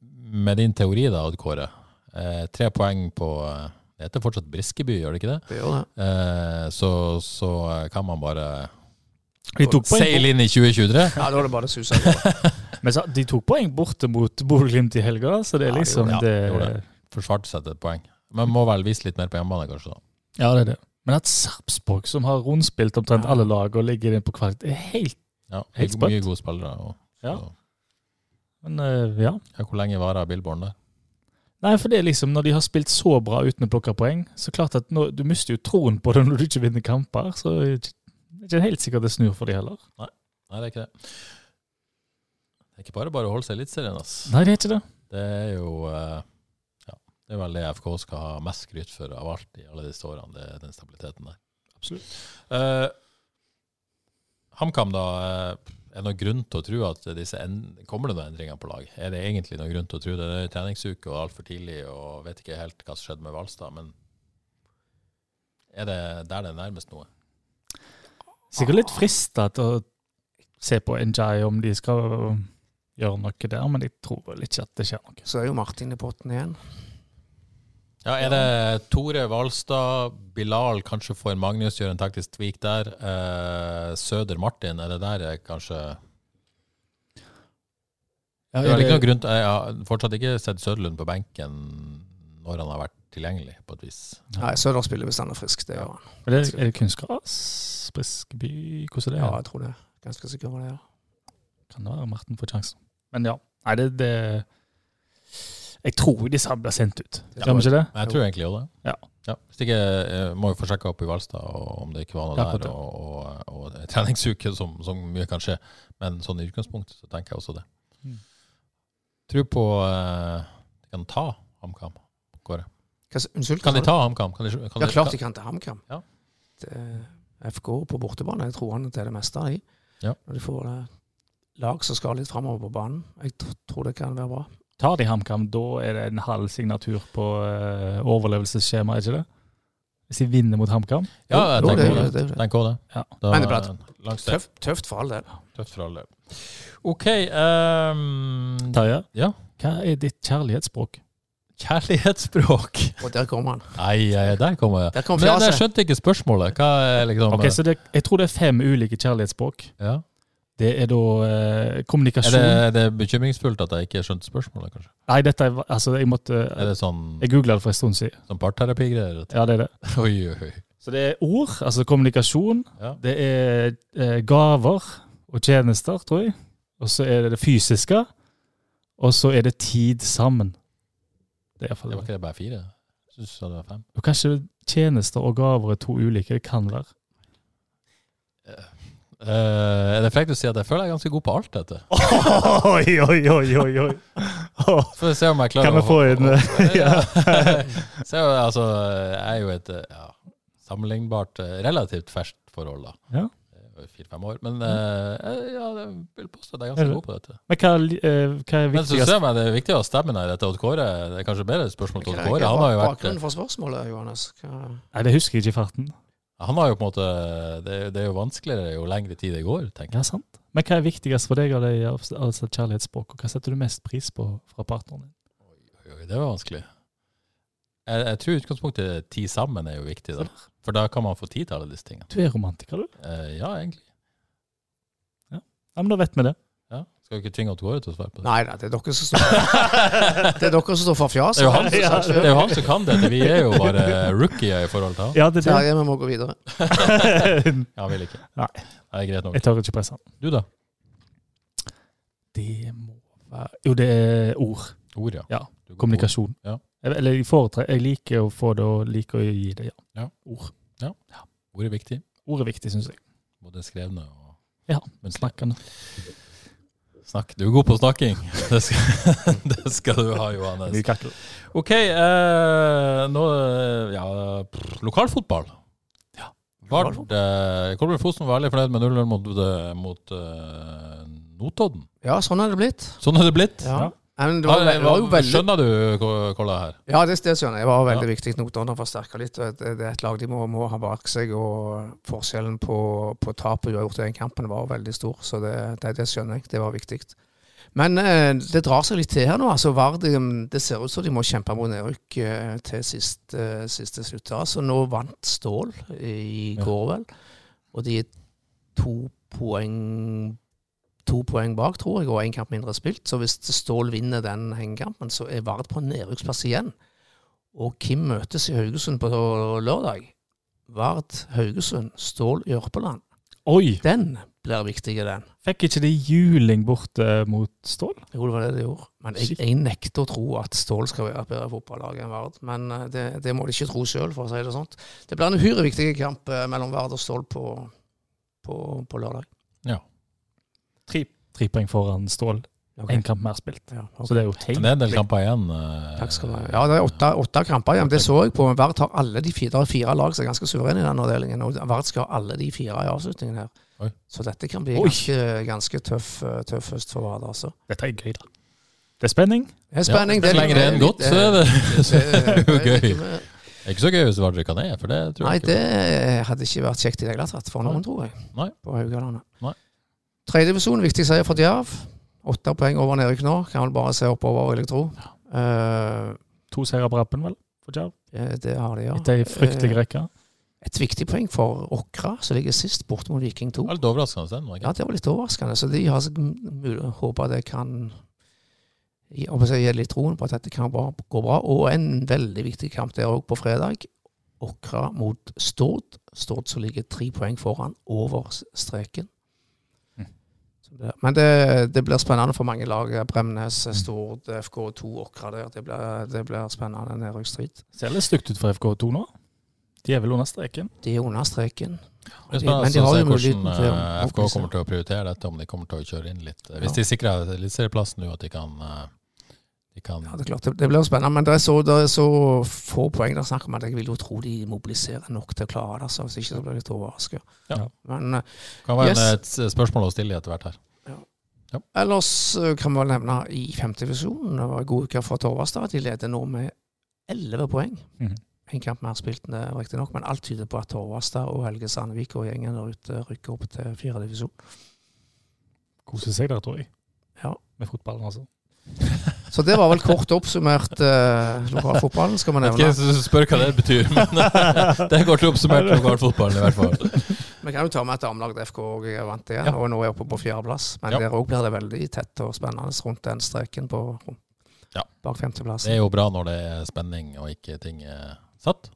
Speaker 1: med din teori, da, Odd Kåre. Eh, tre poeng på eh, Det heter fortsatt Briskeby, gjør det ikke det?
Speaker 2: Det gjør det.
Speaker 1: Eh, så, så kan man bare
Speaker 3: De tok poeng,
Speaker 1: seile inn i 2023.
Speaker 2: Ja, da er det bare å suse av gårde.
Speaker 3: men så, de tok poeng borte mot Bodø-Glimt i helga, da, så det er
Speaker 2: Ja,
Speaker 3: liksom
Speaker 1: ja,
Speaker 3: det,
Speaker 1: gjorde det. Forsvarte seg til et poeng. Men må vel vise litt mer på hjemmebane, kanskje. da.
Speaker 3: Ja, det er det. Men at Sarpsborg, som har rundspilt omtrent alle lag og ligger inne på kvalitet, er helt
Speaker 1: Ja,
Speaker 3: Helt
Speaker 1: mye- Mye
Speaker 3: spøtt.
Speaker 1: gode spillere. Og,
Speaker 3: Ja.
Speaker 1: og-
Speaker 3: Men eh, ja.
Speaker 1: ja, hvor lenge varer Billborn der?
Speaker 3: Nei, for det er liksom når de har spilt så bra uten å plukke poeng, så klart at nå, du mister jo troen på det [LAUGHS] når du ikke vinner kamper. Så det er ikke- det er ikke helt sikkert det snur for de heller.
Speaker 1: Nei, det er ikke det. Det er ikke bare bare å holde seg i Eliteserien, ass.
Speaker 3: Nei, det er ikke det.
Speaker 1: Det er jo eh, ja, det er vel det FK skal ha mest skryt for av alt i alle disse årene, det er den stabiliteten der. Absolutt. HamKam, da. eh, er det noen grunn til å tro at disse en kommer det noen endringer på lag? Er det egentlig noen grunn til å tro det? Det er treningsuke og altfor tidlig, og vet ikke helt hva som skjedde med Hvalstad, men er det der det er nærmest noe?
Speaker 3: Sikkert litt frista til å se på Njay om de skal gjøre noe der, men jeg tror vel ikke at det skjer noe.
Speaker 2: Så er jo Martin i potten igjen.
Speaker 1: Ja, Er det Tore Hvalstad, Bilal kanskje får Magnus gjøre en taktisk tvik der? Eh, Søder Martin, er det der eh, kanskje
Speaker 3: Ja,
Speaker 1: Det er
Speaker 3: er
Speaker 1: vel ikke
Speaker 3: det-
Speaker 1: noen grunn til, Jeg har fortsatt ikke sett Søderlund på benken når han har vært tilgjengelig, på et vis.
Speaker 2: Nei, Søder spiller hvis han er frisk. Det gjør han.
Speaker 3: Men det- er det kunstgras? Briskeby? Hvordan er det?
Speaker 2: Ja, jeg tror det. Ganske sikker på det. ja.
Speaker 3: Kan det være Martin får sjansen. Men ja. Nei, det, det Jeg tror disse blir sendt ut.
Speaker 2: Det
Speaker 3: Gjør vi ikke det?
Speaker 1: Men jeg tror egentlig jo det.
Speaker 3: Ja.
Speaker 1: Hvis ikke eh, må jo få sjekka opp i Hvalstad og om det ikke var noe
Speaker 3: Ja, akkurat
Speaker 1: der, og, og, og det er treningsuke, som, som mye kan skje. Men sånn i utgangspunktet så tenker jeg også det.
Speaker 3: Mm.
Speaker 1: Tror på eh, De kan ta HamKam. Kåre.
Speaker 2: Hva s- Unnskyld?
Speaker 1: Kan de
Speaker 2: hva-
Speaker 1: ta HamKam? Kan de, kan
Speaker 2: Ja, klart de kan til HamKam.
Speaker 1: Ja.
Speaker 2: Det- FK på bortebane jeg tror han til det meste av de.
Speaker 1: Ja.
Speaker 2: Når de får eh, lag som skal litt framover på banen. Jeg tr- tror det kan være bra.
Speaker 3: Tar de HamKam, da er det en halv signatur på eh, overlevelsesskjema, er ikke det? Hvis de vinner mot HamKam.
Speaker 1: Ja, jeg
Speaker 2: Jo,
Speaker 1: tenker
Speaker 2: det-
Speaker 1: også det.
Speaker 2: det- det-
Speaker 1: Tenker også det.
Speaker 3: Ja.
Speaker 1: Da-
Speaker 2: Men det blir
Speaker 1: langs det.
Speaker 2: Tøft, tøft for all del.
Speaker 1: Tøft for alle. OK. ehm,
Speaker 3: Terje,
Speaker 1: Ja.
Speaker 3: hva er ditt kjærlighetsspråk?
Speaker 1: kjærlighetsspråk.
Speaker 2: Og der kommer han.
Speaker 1: Nei, eh, der kommer
Speaker 2: Der
Speaker 1: jeg.
Speaker 2: kommer
Speaker 1: Men jeg
Speaker 2: fjaset.
Speaker 1: skjønte ikke spørsmålet. Hva er liksom
Speaker 3: Ok, så det, Jeg tror det er fem ulike kjærlighetsspråk.
Speaker 1: ja.
Speaker 3: Det er da eh,
Speaker 1: Er
Speaker 3: kommunikasjon
Speaker 1: det, er det bekymringsfullt at jeg ikke skjønte spørsmålet, kanskje?
Speaker 3: Nei, dette er Altså, jeg måtte
Speaker 1: Er det sånn,
Speaker 3: Jeg googla det for en stund siden.
Speaker 1: sånn parterapigreier? at- [LAUGHS]
Speaker 3: Ja, det er det.
Speaker 1: Oi, oi, oi.
Speaker 3: Så det er ord, altså kommunikasjon.
Speaker 1: Ja.
Speaker 3: Det er eh, gaver og tjenester, tror jeg. Og så er det det fysiske. Og så er det tid sammen. Det er
Speaker 1: Det var
Speaker 3: iallfall det.
Speaker 1: ikke det bare fire? Jeg synes det var fem.
Speaker 3: Og kanskje tjenester og gaver er to ulike. Det kan være.
Speaker 1: Eh, er det frekt å si at jeg føler jeg er ganske god på alt dette?
Speaker 3: Oi, oi, oi, oi, oi.
Speaker 1: Får vi se om jeg klarer
Speaker 3: Kan vi
Speaker 1: å-
Speaker 3: få en,
Speaker 1: å-
Speaker 3: [LAUGHS] ja.
Speaker 1: [LAUGHS] Se, altså, jeg er jo et eh, ja, sammenlignbart eh, relativt ferskt forhold, da.
Speaker 3: Ja.
Speaker 1: Det er jo Fire-fem år. Men eh, jeg- ja, jeg vil påstå at jeg er ganske
Speaker 3: Er du-
Speaker 1: god på dette.
Speaker 3: Men hva, li- eh, hva er
Speaker 1: Men så
Speaker 3: viktigst?
Speaker 1: ser jeg det er viktig å stemme her etter Odd Kåre. Det er kanskje bedre spørsmål til Odd
Speaker 2: Hva
Speaker 1: Kåre.
Speaker 2: er
Speaker 1: Han har jo vært eh.
Speaker 2: Bakgrunnen for spørsmålet, Johannes. Hva-
Speaker 3: Nei, det husker jeg ikke i farten.
Speaker 1: Han har jo på en måte Det, er- det er jo vanskeligere jo lengre tid det går, tenker jeg.
Speaker 3: Ja, sant. Men hva er viktigst for deg av det altså kjærlighetsspråk, og hva setter du mest pris på fra partneren din?
Speaker 1: Oi, Det var vanskelig. Jeg, jeg tror utgangspunktet tid sammen er jo viktig, da. For da kan man få tid til alle disse tingene.
Speaker 3: Du er romantiker, du.
Speaker 1: Eh, ja, egentlig.
Speaker 3: Ja, men da vet vi det.
Speaker 1: Ja. Skal jo ikke tvinge Odd Kåre til å svare på det.
Speaker 2: Nei da, det er dere som står [LAUGHS] Det er dere som står for fjaset.
Speaker 1: Det er, jo
Speaker 2: [LAUGHS]
Speaker 1: han,
Speaker 3: Ja,
Speaker 1: som- det er jo han som kan dette. Vi er jo bare rookier i forhold til han.
Speaker 3: Ja, det er
Speaker 2: Terje, vi må gå videre.
Speaker 3: det.
Speaker 1: Ja, Han vil ikke.
Speaker 3: Nei.
Speaker 1: Det er greit nok.
Speaker 3: Jeg tør ikke presse han.
Speaker 1: Du, da?
Speaker 3: Det må være Jo, det er ord.
Speaker 1: Ord, ja.
Speaker 3: Ja.
Speaker 1: Du går på ord.
Speaker 3: Kommunikasjon.
Speaker 1: Ja.
Speaker 3: Jeg- Eller jeg foretrekker Jeg liker å få det, og liker å gi det. Ja.
Speaker 1: Ja.
Speaker 3: Ord.
Speaker 1: Ord er viktig.
Speaker 3: Ord er viktig, syns jeg.
Speaker 1: Både skrevne og
Speaker 3: Ja,
Speaker 1: muntlige.
Speaker 3: Snakkende.
Speaker 1: Snakk. Du er god på snakking. [LAUGHS] Det skal, [LAUGHS] det skal du ha,
Speaker 3: Mye
Speaker 1: Johannes.
Speaker 3: kakkel.
Speaker 1: OK, eh, nå eh, Ja, pff, lokalfotball.
Speaker 3: Ja,
Speaker 1: Vard, eh, Kolbjørn Fosen var veldig fornøyd med 0-0 mot, eh, mot eh, Notodden.
Speaker 2: Ja, sånn er det blitt.
Speaker 1: Sånn er det blitt.
Speaker 2: Ja.
Speaker 3: Ja.
Speaker 2: Men det var, det var jo veldig
Speaker 1: eh, Skjønner du, Ko- Kolla her?
Speaker 2: Ja, det, det skjønner jeg. Det var veldig viktig. Notodden har forsterka litt. og Det, det er et lag de må, må ha bak seg. og Forskjellen på, på tapet uavgjort i den kampen var veldig stor, så det, det, det skjønner jeg. Det var viktig. Men eh, det drar seg litt til her nå. altså Vard de, Det ser ut som de må kjempe mot nedrykk eh, til sist, eh, siste slutt. Så nå vant Stål i
Speaker 1: Ja.
Speaker 2: går, vel. Og de er to poeng To poeng bak, tror jeg, og én kamp mindre spilt. Så hvis Stål vinner den hengekampen, så er Vard på nedrykksplass igjen. Og Kim møtes i Haugesund på lørdag. Vard, Haugesund, Stål i Ørpeland.
Speaker 3: Oi!
Speaker 2: Den blir viktig, den.
Speaker 3: Fikk ikke de juling borte mot Stål?
Speaker 2: Jo, det var det det gjorde. Men jeg,
Speaker 3: Shit.
Speaker 2: jeg nekter å tro at Stål skal være et bedre fotballag enn Vard. Men eh, det, det må de ikke tro sjøl, for å si det sånn. Det blir en uhyre viktig kamp eh, mellom Vard og Stål på, på, på lørdag.
Speaker 3: Tre, tre poeng foran Stål.
Speaker 2: Ok.
Speaker 3: Én kamp mer spilt.
Speaker 2: Ja, ok.
Speaker 3: Så det er jo helt
Speaker 1: Men det er en del kamper igjen. eh,
Speaker 2: Takk skal du ha. Ja, det er åtte, åtte kamper igjen. Det så jeg på. Men Vard har alle de fire, det er fire lag som er ganske suverene i den avdelingen. Og Vard skal ha alle de fire i avslutningen her.
Speaker 1: Oi.
Speaker 2: Så dette kan bli
Speaker 3: Oi.
Speaker 2: ganske, ganske tøff, eh, tøff høst for Vard, altså.
Speaker 3: Dette er gøy, da. Det er spenning.
Speaker 2: Det er eh, spenning.
Speaker 1: Ja, så lenge det er en godt, så
Speaker 2: [LAUGHS]
Speaker 1: er det, så er [LAUGHS] det jo gøy.
Speaker 2: gøy.
Speaker 1: Det er ikke så gøy hvis Vard rykker ned, for det tror
Speaker 2: Nei,
Speaker 1: jeg ikke.
Speaker 2: det hadde ikke vært kjekt i det hele tatt for
Speaker 1: Nei.
Speaker 2: noen, tror jeg.
Speaker 1: Nei.
Speaker 2: På Haugalandet.
Speaker 1: Nei.
Speaker 2: Tredje divisjon, viktig seier for Djerv. Åtte poeng over Nedrykk nå. Kan vel bare se oppover, vil jeg tro. Eh,
Speaker 3: To seire på rappen, vel? på Jerv.
Speaker 2: Eh, Det har de, ja.
Speaker 3: Etter ei fryktelig
Speaker 2: Eh,
Speaker 3: rekke.
Speaker 2: Et viktig poeng for Åkra, som ligger sist, borte mot Viking 2.
Speaker 1: Det var litt overraskende. Den, var det
Speaker 2: Ja,
Speaker 1: ikke?
Speaker 2: det var litt overraskende. Så de har håpa det kan gi om jeg sier, gi litt troen på at dette kan bra, gå bra. Og en veldig viktig kamp der òg på fredag. Åkra mot Stord. Stord som ligger tre poeng foran, over s- streken.
Speaker 3: Mm.
Speaker 2: Så det- Men det, det blir spennende for mange lag. Bremnes, Stord, FK2, Åkra der. Det blir, det blir spennende nedrykksstrid.
Speaker 3: Ser litt stygt ut for FK2 nå. De er vel under streken.
Speaker 2: De er under streken.
Speaker 1: Det er
Speaker 2: Men de
Speaker 1: spennende å
Speaker 2: har
Speaker 1: altså se
Speaker 2: jo
Speaker 1: hvordan
Speaker 2: muligheten til å
Speaker 1: eh, FK
Speaker 2: opplyse.
Speaker 1: kommer til å prioritere dette, om de kommer til å kjøre inn litt. eh, Hvis
Speaker 2: Ja.
Speaker 1: de sikrer eliteserieplassen nå, at de kan, eh, de kan
Speaker 2: Ja, det, er klart, det, det blir jo spennende, men det er så, det er så få poeng det er snakk om at jeg vil jo tro de mobiliserer nok til å klare det. Så hvis ikke så blir jeg litt overraska.
Speaker 1: Ja.
Speaker 2: Men eh,
Speaker 1: kan være
Speaker 2: Yes.
Speaker 1: en- et s- spørsmål å stille etter hvert her.
Speaker 2: ellers eh, kan vi vel nevne i femtedivisjonen det var en god uke for Torvastad. De leder nå med elleve poeng.
Speaker 3: Mhm.
Speaker 2: En kamp mer spilt enn det, riktignok, men alt tyder på at Torvastad og Helge Sandvik og gjengen der ute rykker opp til fjerdedivisjon.
Speaker 3: Koser seg der, tror jeg.
Speaker 2: Ja.
Speaker 3: Med fotballen, altså.
Speaker 2: Så det var vel kort oppsummert eh, lokalfotballen, skal vi
Speaker 1: Jeg
Speaker 2: nevne.
Speaker 1: vet ikke, jeg spør hva det betyr, men [LAUGHS] det går til oppsummert lokalfotballen i hvert fall.
Speaker 2: Vi kan jo ta med at damelaget FK òg er vant igjen,
Speaker 1: Ja.
Speaker 2: og nå er oppe på fjerdeplass. Men
Speaker 1: Ja.
Speaker 2: der òg blir det veldig tett og spennende rundt den streken på
Speaker 1: Ja.
Speaker 2: bak
Speaker 1: Det
Speaker 2: femteplassen.
Speaker 1: er jo bra når det er spenning og ikke ting er satt.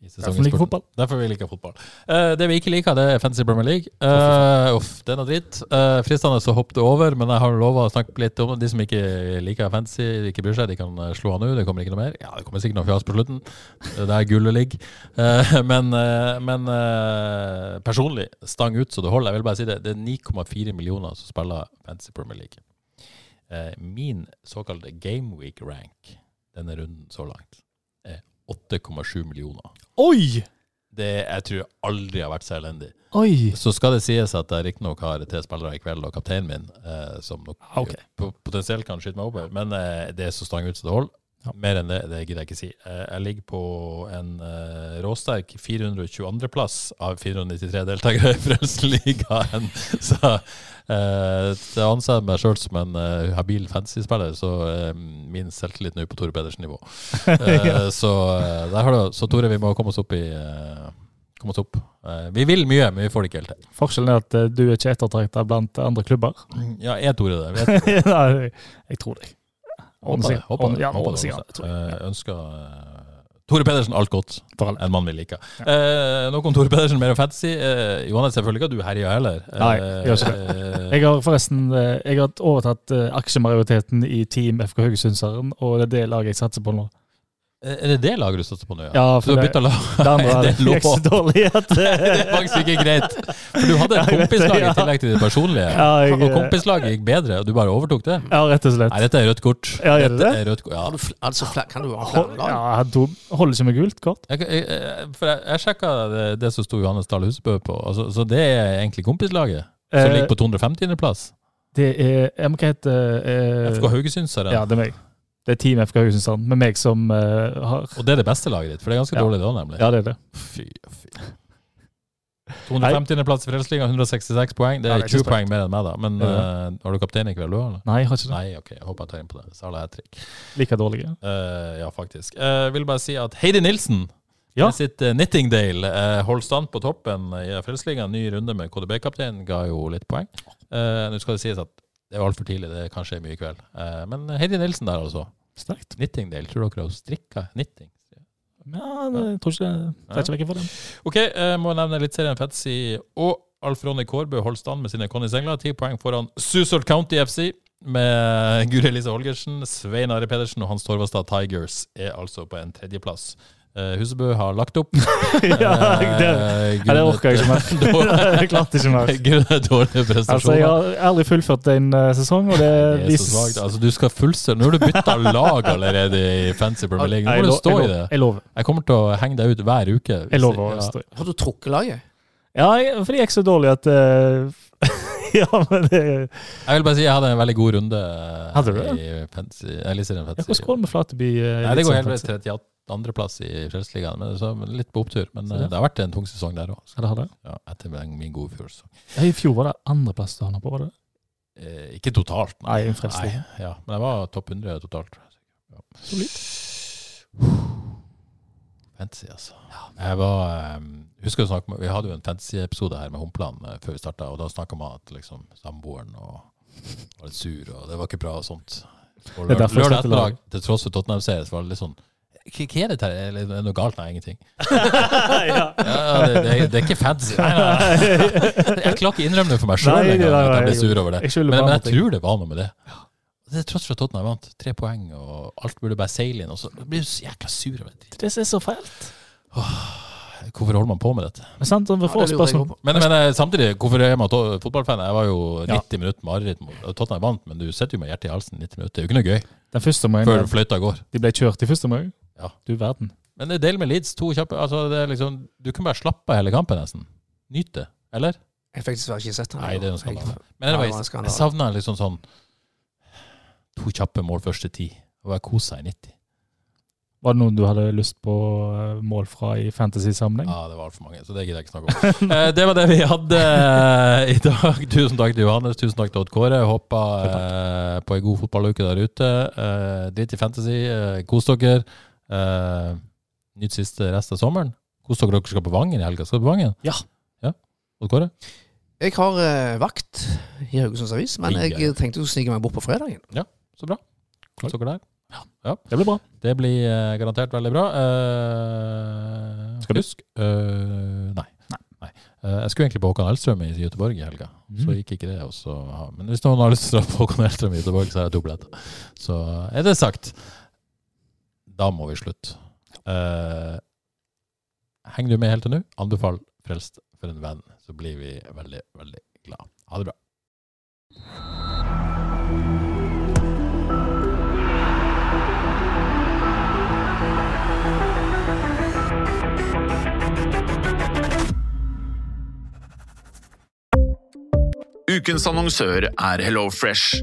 Speaker 1: I sesongens
Speaker 3: Derfor liker
Speaker 1: spurt.
Speaker 3: fotball.
Speaker 1: Derfor vi liker fotball. Eh, det vi ikke liker, det er Fantasy Premier League. Eh, uff, det er noe dritt. Eh, fristende så hoppet det over, men jeg har lova å snakke litt om det. De som ikke liker fancy, de ikke bryr seg, de kan eh, slå han ut. Det kommer ikke noe mer. Ja, det kommer sikkert noe fjas på slutten. Det er der gullet ligger. Eh, [LAUGHS] men eh, men eh, personlig, stang ut så det holder. Jeg vil bare si det. Det er 9,4 millioner som spiller Fantasy Premier League. Eh, min såkalte Game Week rank denne runden så langt er 8,7 millioner.
Speaker 3: Oi!
Speaker 1: Det jeg tror jeg aldri har vært så elendig.
Speaker 3: Oi!
Speaker 1: Så skal det sies at jeg riktignok har tre spillere i kveld, og kapteinen min, eh, som nok
Speaker 3: Ah, ok.
Speaker 1: po- potensielt kan skyte meg over, men eh, det er så stang ut som det holder.
Speaker 3: Ja.
Speaker 1: Mer enn det, det gidder jeg ikke si. Eh, jeg ligger på en eh, råsterk 422.-plass av 493 deltakere i [LAUGHS] Frelsesligaen. Så eh, jeg anser meg sjøl som en eh, habil fantasy-spiller, så eh, min selvtillit nå er på Tore Pedersen-nivå.
Speaker 3: [LAUGHS]
Speaker 1: Eh, Så eh, der har du Så Tore, vi må komme oss opp i eh, Komme oss opp. Eh, vi vil mye, men vi får det ikke helt til.
Speaker 3: Forskjellen er at eh, du er ikke ettertrakta blant andre klubber.
Speaker 1: Ja, er Tore det? Vet
Speaker 3: Nei, jeg tror deg.
Speaker 1: Håper det. Håper det.
Speaker 3: Ja,
Speaker 1: Håper
Speaker 3: ordentlig, ja, jeg
Speaker 1: det. ordner seg.
Speaker 3: tror det.
Speaker 1: Eh, Ønsker eh, Tore Pedersen alt godt.
Speaker 3: For alle.
Speaker 1: En mann vi liker. Eh, nok om Tore Pedersen, mer om fantasy. Eh, Johannes, selvfølgelig ikke at du herjer heller. Eh,
Speaker 3: Nei, jeg gjør
Speaker 1: eh,
Speaker 3: Jeg har forresten eh, jeg har overtatt eh, aksjemajoriteten i Team FK Haugesundseren, og det er det laget jeg satser på nå.
Speaker 1: eh, er det det laget du satser på nå?
Speaker 3: Ja,
Speaker 1: for
Speaker 3: for
Speaker 1: du har
Speaker 3: det,
Speaker 1: bytta lag?
Speaker 3: det andre er
Speaker 1: [LAUGHS] [LAUGHS] Det er lov.
Speaker 3: [LAUGHS] gikk så dårlig at eh,
Speaker 1: Det [LAUGHS] er faktisk ikke greit. For du hadde et
Speaker 3: Jeg vet det,
Speaker 1: kompislag
Speaker 3: [LAUGHS]
Speaker 1: i
Speaker 3: ja.
Speaker 1: tillegg til det personlige.
Speaker 3: Ja, jeg- eh,
Speaker 1: og kompislaget gikk bedre, og du bare overtok det?
Speaker 3: Ja, rett og slett.
Speaker 1: Nei, dette er rødt kort.
Speaker 3: Ja, er det
Speaker 1: Dette
Speaker 3: det?
Speaker 1: er rødt kort. Ja,
Speaker 2: Har du, fl- altså, fl- kan du ha
Speaker 3: Hold,
Speaker 2: flere
Speaker 3: ja,
Speaker 2: lag?
Speaker 3: jeg tok- holder ikke med gult kort.
Speaker 1: Jeg, jeg, jeg- for jeg, jeg sjekka det, det som sto Johannes Dahl Husebø på, altså, så det er egentlig kompislaget. Som
Speaker 3: Eh,
Speaker 1: ligger på 250.-plass.
Speaker 3: Det er jeg må Hva heter eh,
Speaker 1: FK Haugesundseren.
Speaker 3: Ja, det er meg. Det er Team FK Haugesundsand, med meg som eh, har
Speaker 1: Og det er det beste laget ditt, for det er ganske
Speaker 3: Ja.
Speaker 1: dårlig da, nemlig.
Speaker 3: Ja, det er det.
Speaker 1: Fy,
Speaker 3: [LAUGHS]
Speaker 1: fy. 250.-plass i Frelsesligaen, 166 poeng. Det
Speaker 3: Ja,
Speaker 1: er
Speaker 3: det er ikke
Speaker 1: 20
Speaker 3: sprekt.
Speaker 1: poeng mer enn meg, da. Men
Speaker 3: Ja.
Speaker 1: eh, har du kaptein i kveld, du, eller?
Speaker 3: Nei, jeg har ikke det.
Speaker 1: Nei, OK. Jeg håper jeg tar inn på det. Sala hat trick.
Speaker 3: Like dårlige.
Speaker 1: Eh, ja, faktisk. Jeg vil bare si at Heidi Nilsen
Speaker 3: Ja.
Speaker 1: med sitt eh, Knittingdale eh, holdt stand på toppen i Frelsesligaen. Ny runde med KDB-kapteinen ga jo litt poeng. Eh, Nå skal det sies at det er altfor tidlig, det kan skje mye i kveld. Eh, men Heidi Nilsen der, altså.
Speaker 3: Sterkt.
Speaker 1: Knittingdale, tror dere hun strikka knitting?
Speaker 3: Ja, det- jeg tror ikke det tar ikke vekk fra dem.
Speaker 1: OK, eh, må nevne litt serien Fetzy og Alf Ronny Kårbø holdt stand med sine Conny Sengler. Ti poeng foran Susal County FC med Guri Elise Holgersen, Svein Are Pedersen og Hans Torvastad Tigers er altså på en tredjeplass. Eh, Husebø har lagt opp.
Speaker 3: [LAUGHS] ja, det,
Speaker 1: Eh,
Speaker 3: ja, det orker jeg ikke
Speaker 1: [LAUGHS]
Speaker 3: mer. [LAUGHS]
Speaker 1: dår-
Speaker 3: jeg klarte ikke
Speaker 1: [LAUGHS]
Speaker 3: mer.
Speaker 1: grunnet dårlige
Speaker 3: Altså,
Speaker 1: prestasjoner.
Speaker 3: Jeg har aldri fullført en eh, sesong, og [LAUGHS] det,
Speaker 1: det er så
Speaker 3: vises
Speaker 1: svagt. Altså, du skal fullstøre. Nå har du bytta
Speaker 3: [LAUGHS]
Speaker 1: lag allerede i Fancy Premier League.
Speaker 3: Nei,
Speaker 1: Nå
Speaker 3: jeg
Speaker 1: må du
Speaker 3: lo-
Speaker 1: stå
Speaker 3: jeg
Speaker 1: i
Speaker 3: lo-
Speaker 1: det.
Speaker 3: Jeg lover.
Speaker 1: Jeg kommer til å henge deg ut hver uke. hvis
Speaker 3: Jeg lover
Speaker 1: jeg-
Speaker 3: å
Speaker 1: ja.
Speaker 3: stå i det.
Speaker 2: Har du trukket laget?
Speaker 3: Ja, jeg- for det gikk så dårlig at eh, [LAUGHS] Ja, men det
Speaker 1: Jeg vil bare si jeg hadde en veldig god runde eh,
Speaker 3: Hadde du det?
Speaker 1: i fantasy. Jeg lister en
Speaker 3: Ja,
Speaker 1: fantasy.
Speaker 3: Hvordan går det med Flateby? eh,
Speaker 1: Nei, det går helt
Speaker 3: litt
Speaker 1: vei
Speaker 3: sånn, faktisk?
Speaker 1: til 32. plass i Frelsesligaen, men så litt på opptur. Men
Speaker 3: Så
Speaker 1: eh,
Speaker 3: det.
Speaker 1: det har vært en tung sesong der òg,
Speaker 3: Ja, det har det.
Speaker 1: ja, etter den- min gode fjorårssesong.
Speaker 3: Ja, I fjor var det andreplass du havna på, var det?
Speaker 1: Eh, ikke totalt,
Speaker 3: Nei, en frelsesliga.
Speaker 1: Nei, Ja, men jeg var topp 100 totalt. Ja.
Speaker 3: Solid.
Speaker 1: Fantasy, altså. Jeg var, eh, husker å snakke med, Vi hadde jo en fantasy-episode her med Humpland eh, før vi starta, og da snakka man at liksom, samboeren og, var litt sur, og det var ikke bra og sånt.
Speaker 3: Det er
Speaker 1: Og lørdag,
Speaker 3: derfor jeg
Speaker 1: lørdag
Speaker 3: slipper lag.
Speaker 1: ettermiddag, til tross for Tottenham-seier, så var det litt sånn Hva hva er dette her? Er det noe galt? Nei, ingenting.
Speaker 3: ja.
Speaker 1: Ja, ja, det, det, er- det er ikke fancy. Nei, nei,
Speaker 3: [LAUGHS]
Speaker 1: nei. Jeg klarer ikke innrømme det for meg
Speaker 3: Nei,
Speaker 1: sjøl
Speaker 3: nei,
Speaker 1: engang, at
Speaker 3: nei,
Speaker 1: jeg ble
Speaker 3: jeg-
Speaker 1: sur over det.
Speaker 3: jeg skylder
Speaker 1: Men,
Speaker 3: bare
Speaker 1: men jeg
Speaker 3: på ting.
Speaker 1: tror det var noe med det. Det er Tross for at Tottenham vant tre poeng, og alt burde bare seile inn. Og så blir du så jækla sur over det.
Speaker 3: Det som er så fælt.
Speaker 1: Hvorfor holder man på med dette?
Speaker 3: Men sant, vi får
Speaker 2: det lurer jeg
Speaker 3: spørsmål.
Speaker 2: også på.
Speaker 1: Men, men eh, samtidig, hvorfor er man to- fotballfan? Jeg var jo 90
Speaker 3: Ja.
Speaker 1: minutter mareritt. mot- og Tottenham vant, men du sitter jo med hjertet i halsen 90 minutter. Det er jo ikke noe gøy
Speaker 3: Den første omgangen, eh,
Speaker 1: før fløyta går.
Speaker 3: de ble kjørt i første omgang.
Speaker 1: Ja.
Speaker 3: Du verden.
Speaker 1: Men det er deilig med Leeds. To kjappe altså, det er liksom, Du kan bare slappe av hele kampen, nesten. Nyt det. Eller?
Speaker 2: Jeg fikk dessverre ikke sett den.
Speaker 1: Nei, det er en
Speaker 2: Jeg-
Speaker 1: skandale. Men
Speaker 2: Ja, det
Speaker 1: anyway,
Speaker 2: var en skandale.
Speaker 1: jeg savna liksom sånn To kjappe mål første ti, og jeg kosa i 90.
Speaker 3: Var det noen du hadde lyst på eh, mål fra i fantasy-sammenheng?
Speaker 1: Ja, det var altfor mange, så det gidder jeg ikke snakke
Speaker 2: [LAUGHS]
Speaker 1: om. Eh, det var det vi hadde eh, i dag. [LAUGHS] Tusen takk til Johannes, tusen takk til Odd Kåre. Håper eh, på ei god fotballuke der ute. Eh, Drit i fantasy, eh, kos dere. Eh, Nyt siste rest av sommeren. Kos dere, dere skal på Vangen i helga. Skal dere på Vangen?
Speaker 3: Ja.
Speaker 1: ja. Odd Kåre?
Speaker 2: Jeg har eh, vakt i Haugesunds Avis, men
Speaker 1: Oi, oi, oi.
Speaker 2: jeg tenkte å snike meg bort på fredagen.
Speaker 1: Så bra. Kos dere der.
Speaker 3: Det blir bra.
Speaker 1: Det blir eh, garantert veldig bra. Eh,
Speaker 3: Skal du?
Speaker 1: husk eh, Nei. Nei. Eh, jeg skulle egentlig på Håkon Hellstrøm i Göteborg i helga, så
Speaker 3: Mm.
Speaker 1: gikk ikke det. og så- ja. Men hvis noen har lyst til å dra på Håkon Hellstrøm i Göteborg, så har jeg to billetter. Så er det sagt. Da må vi slutte. Eh, henger du med helt til nå, anbefal Frelst for en venn, så blir vi veldig, veldig glad. Ha det bra.
Speaker 4: Ukens annonsør er HelloFresh.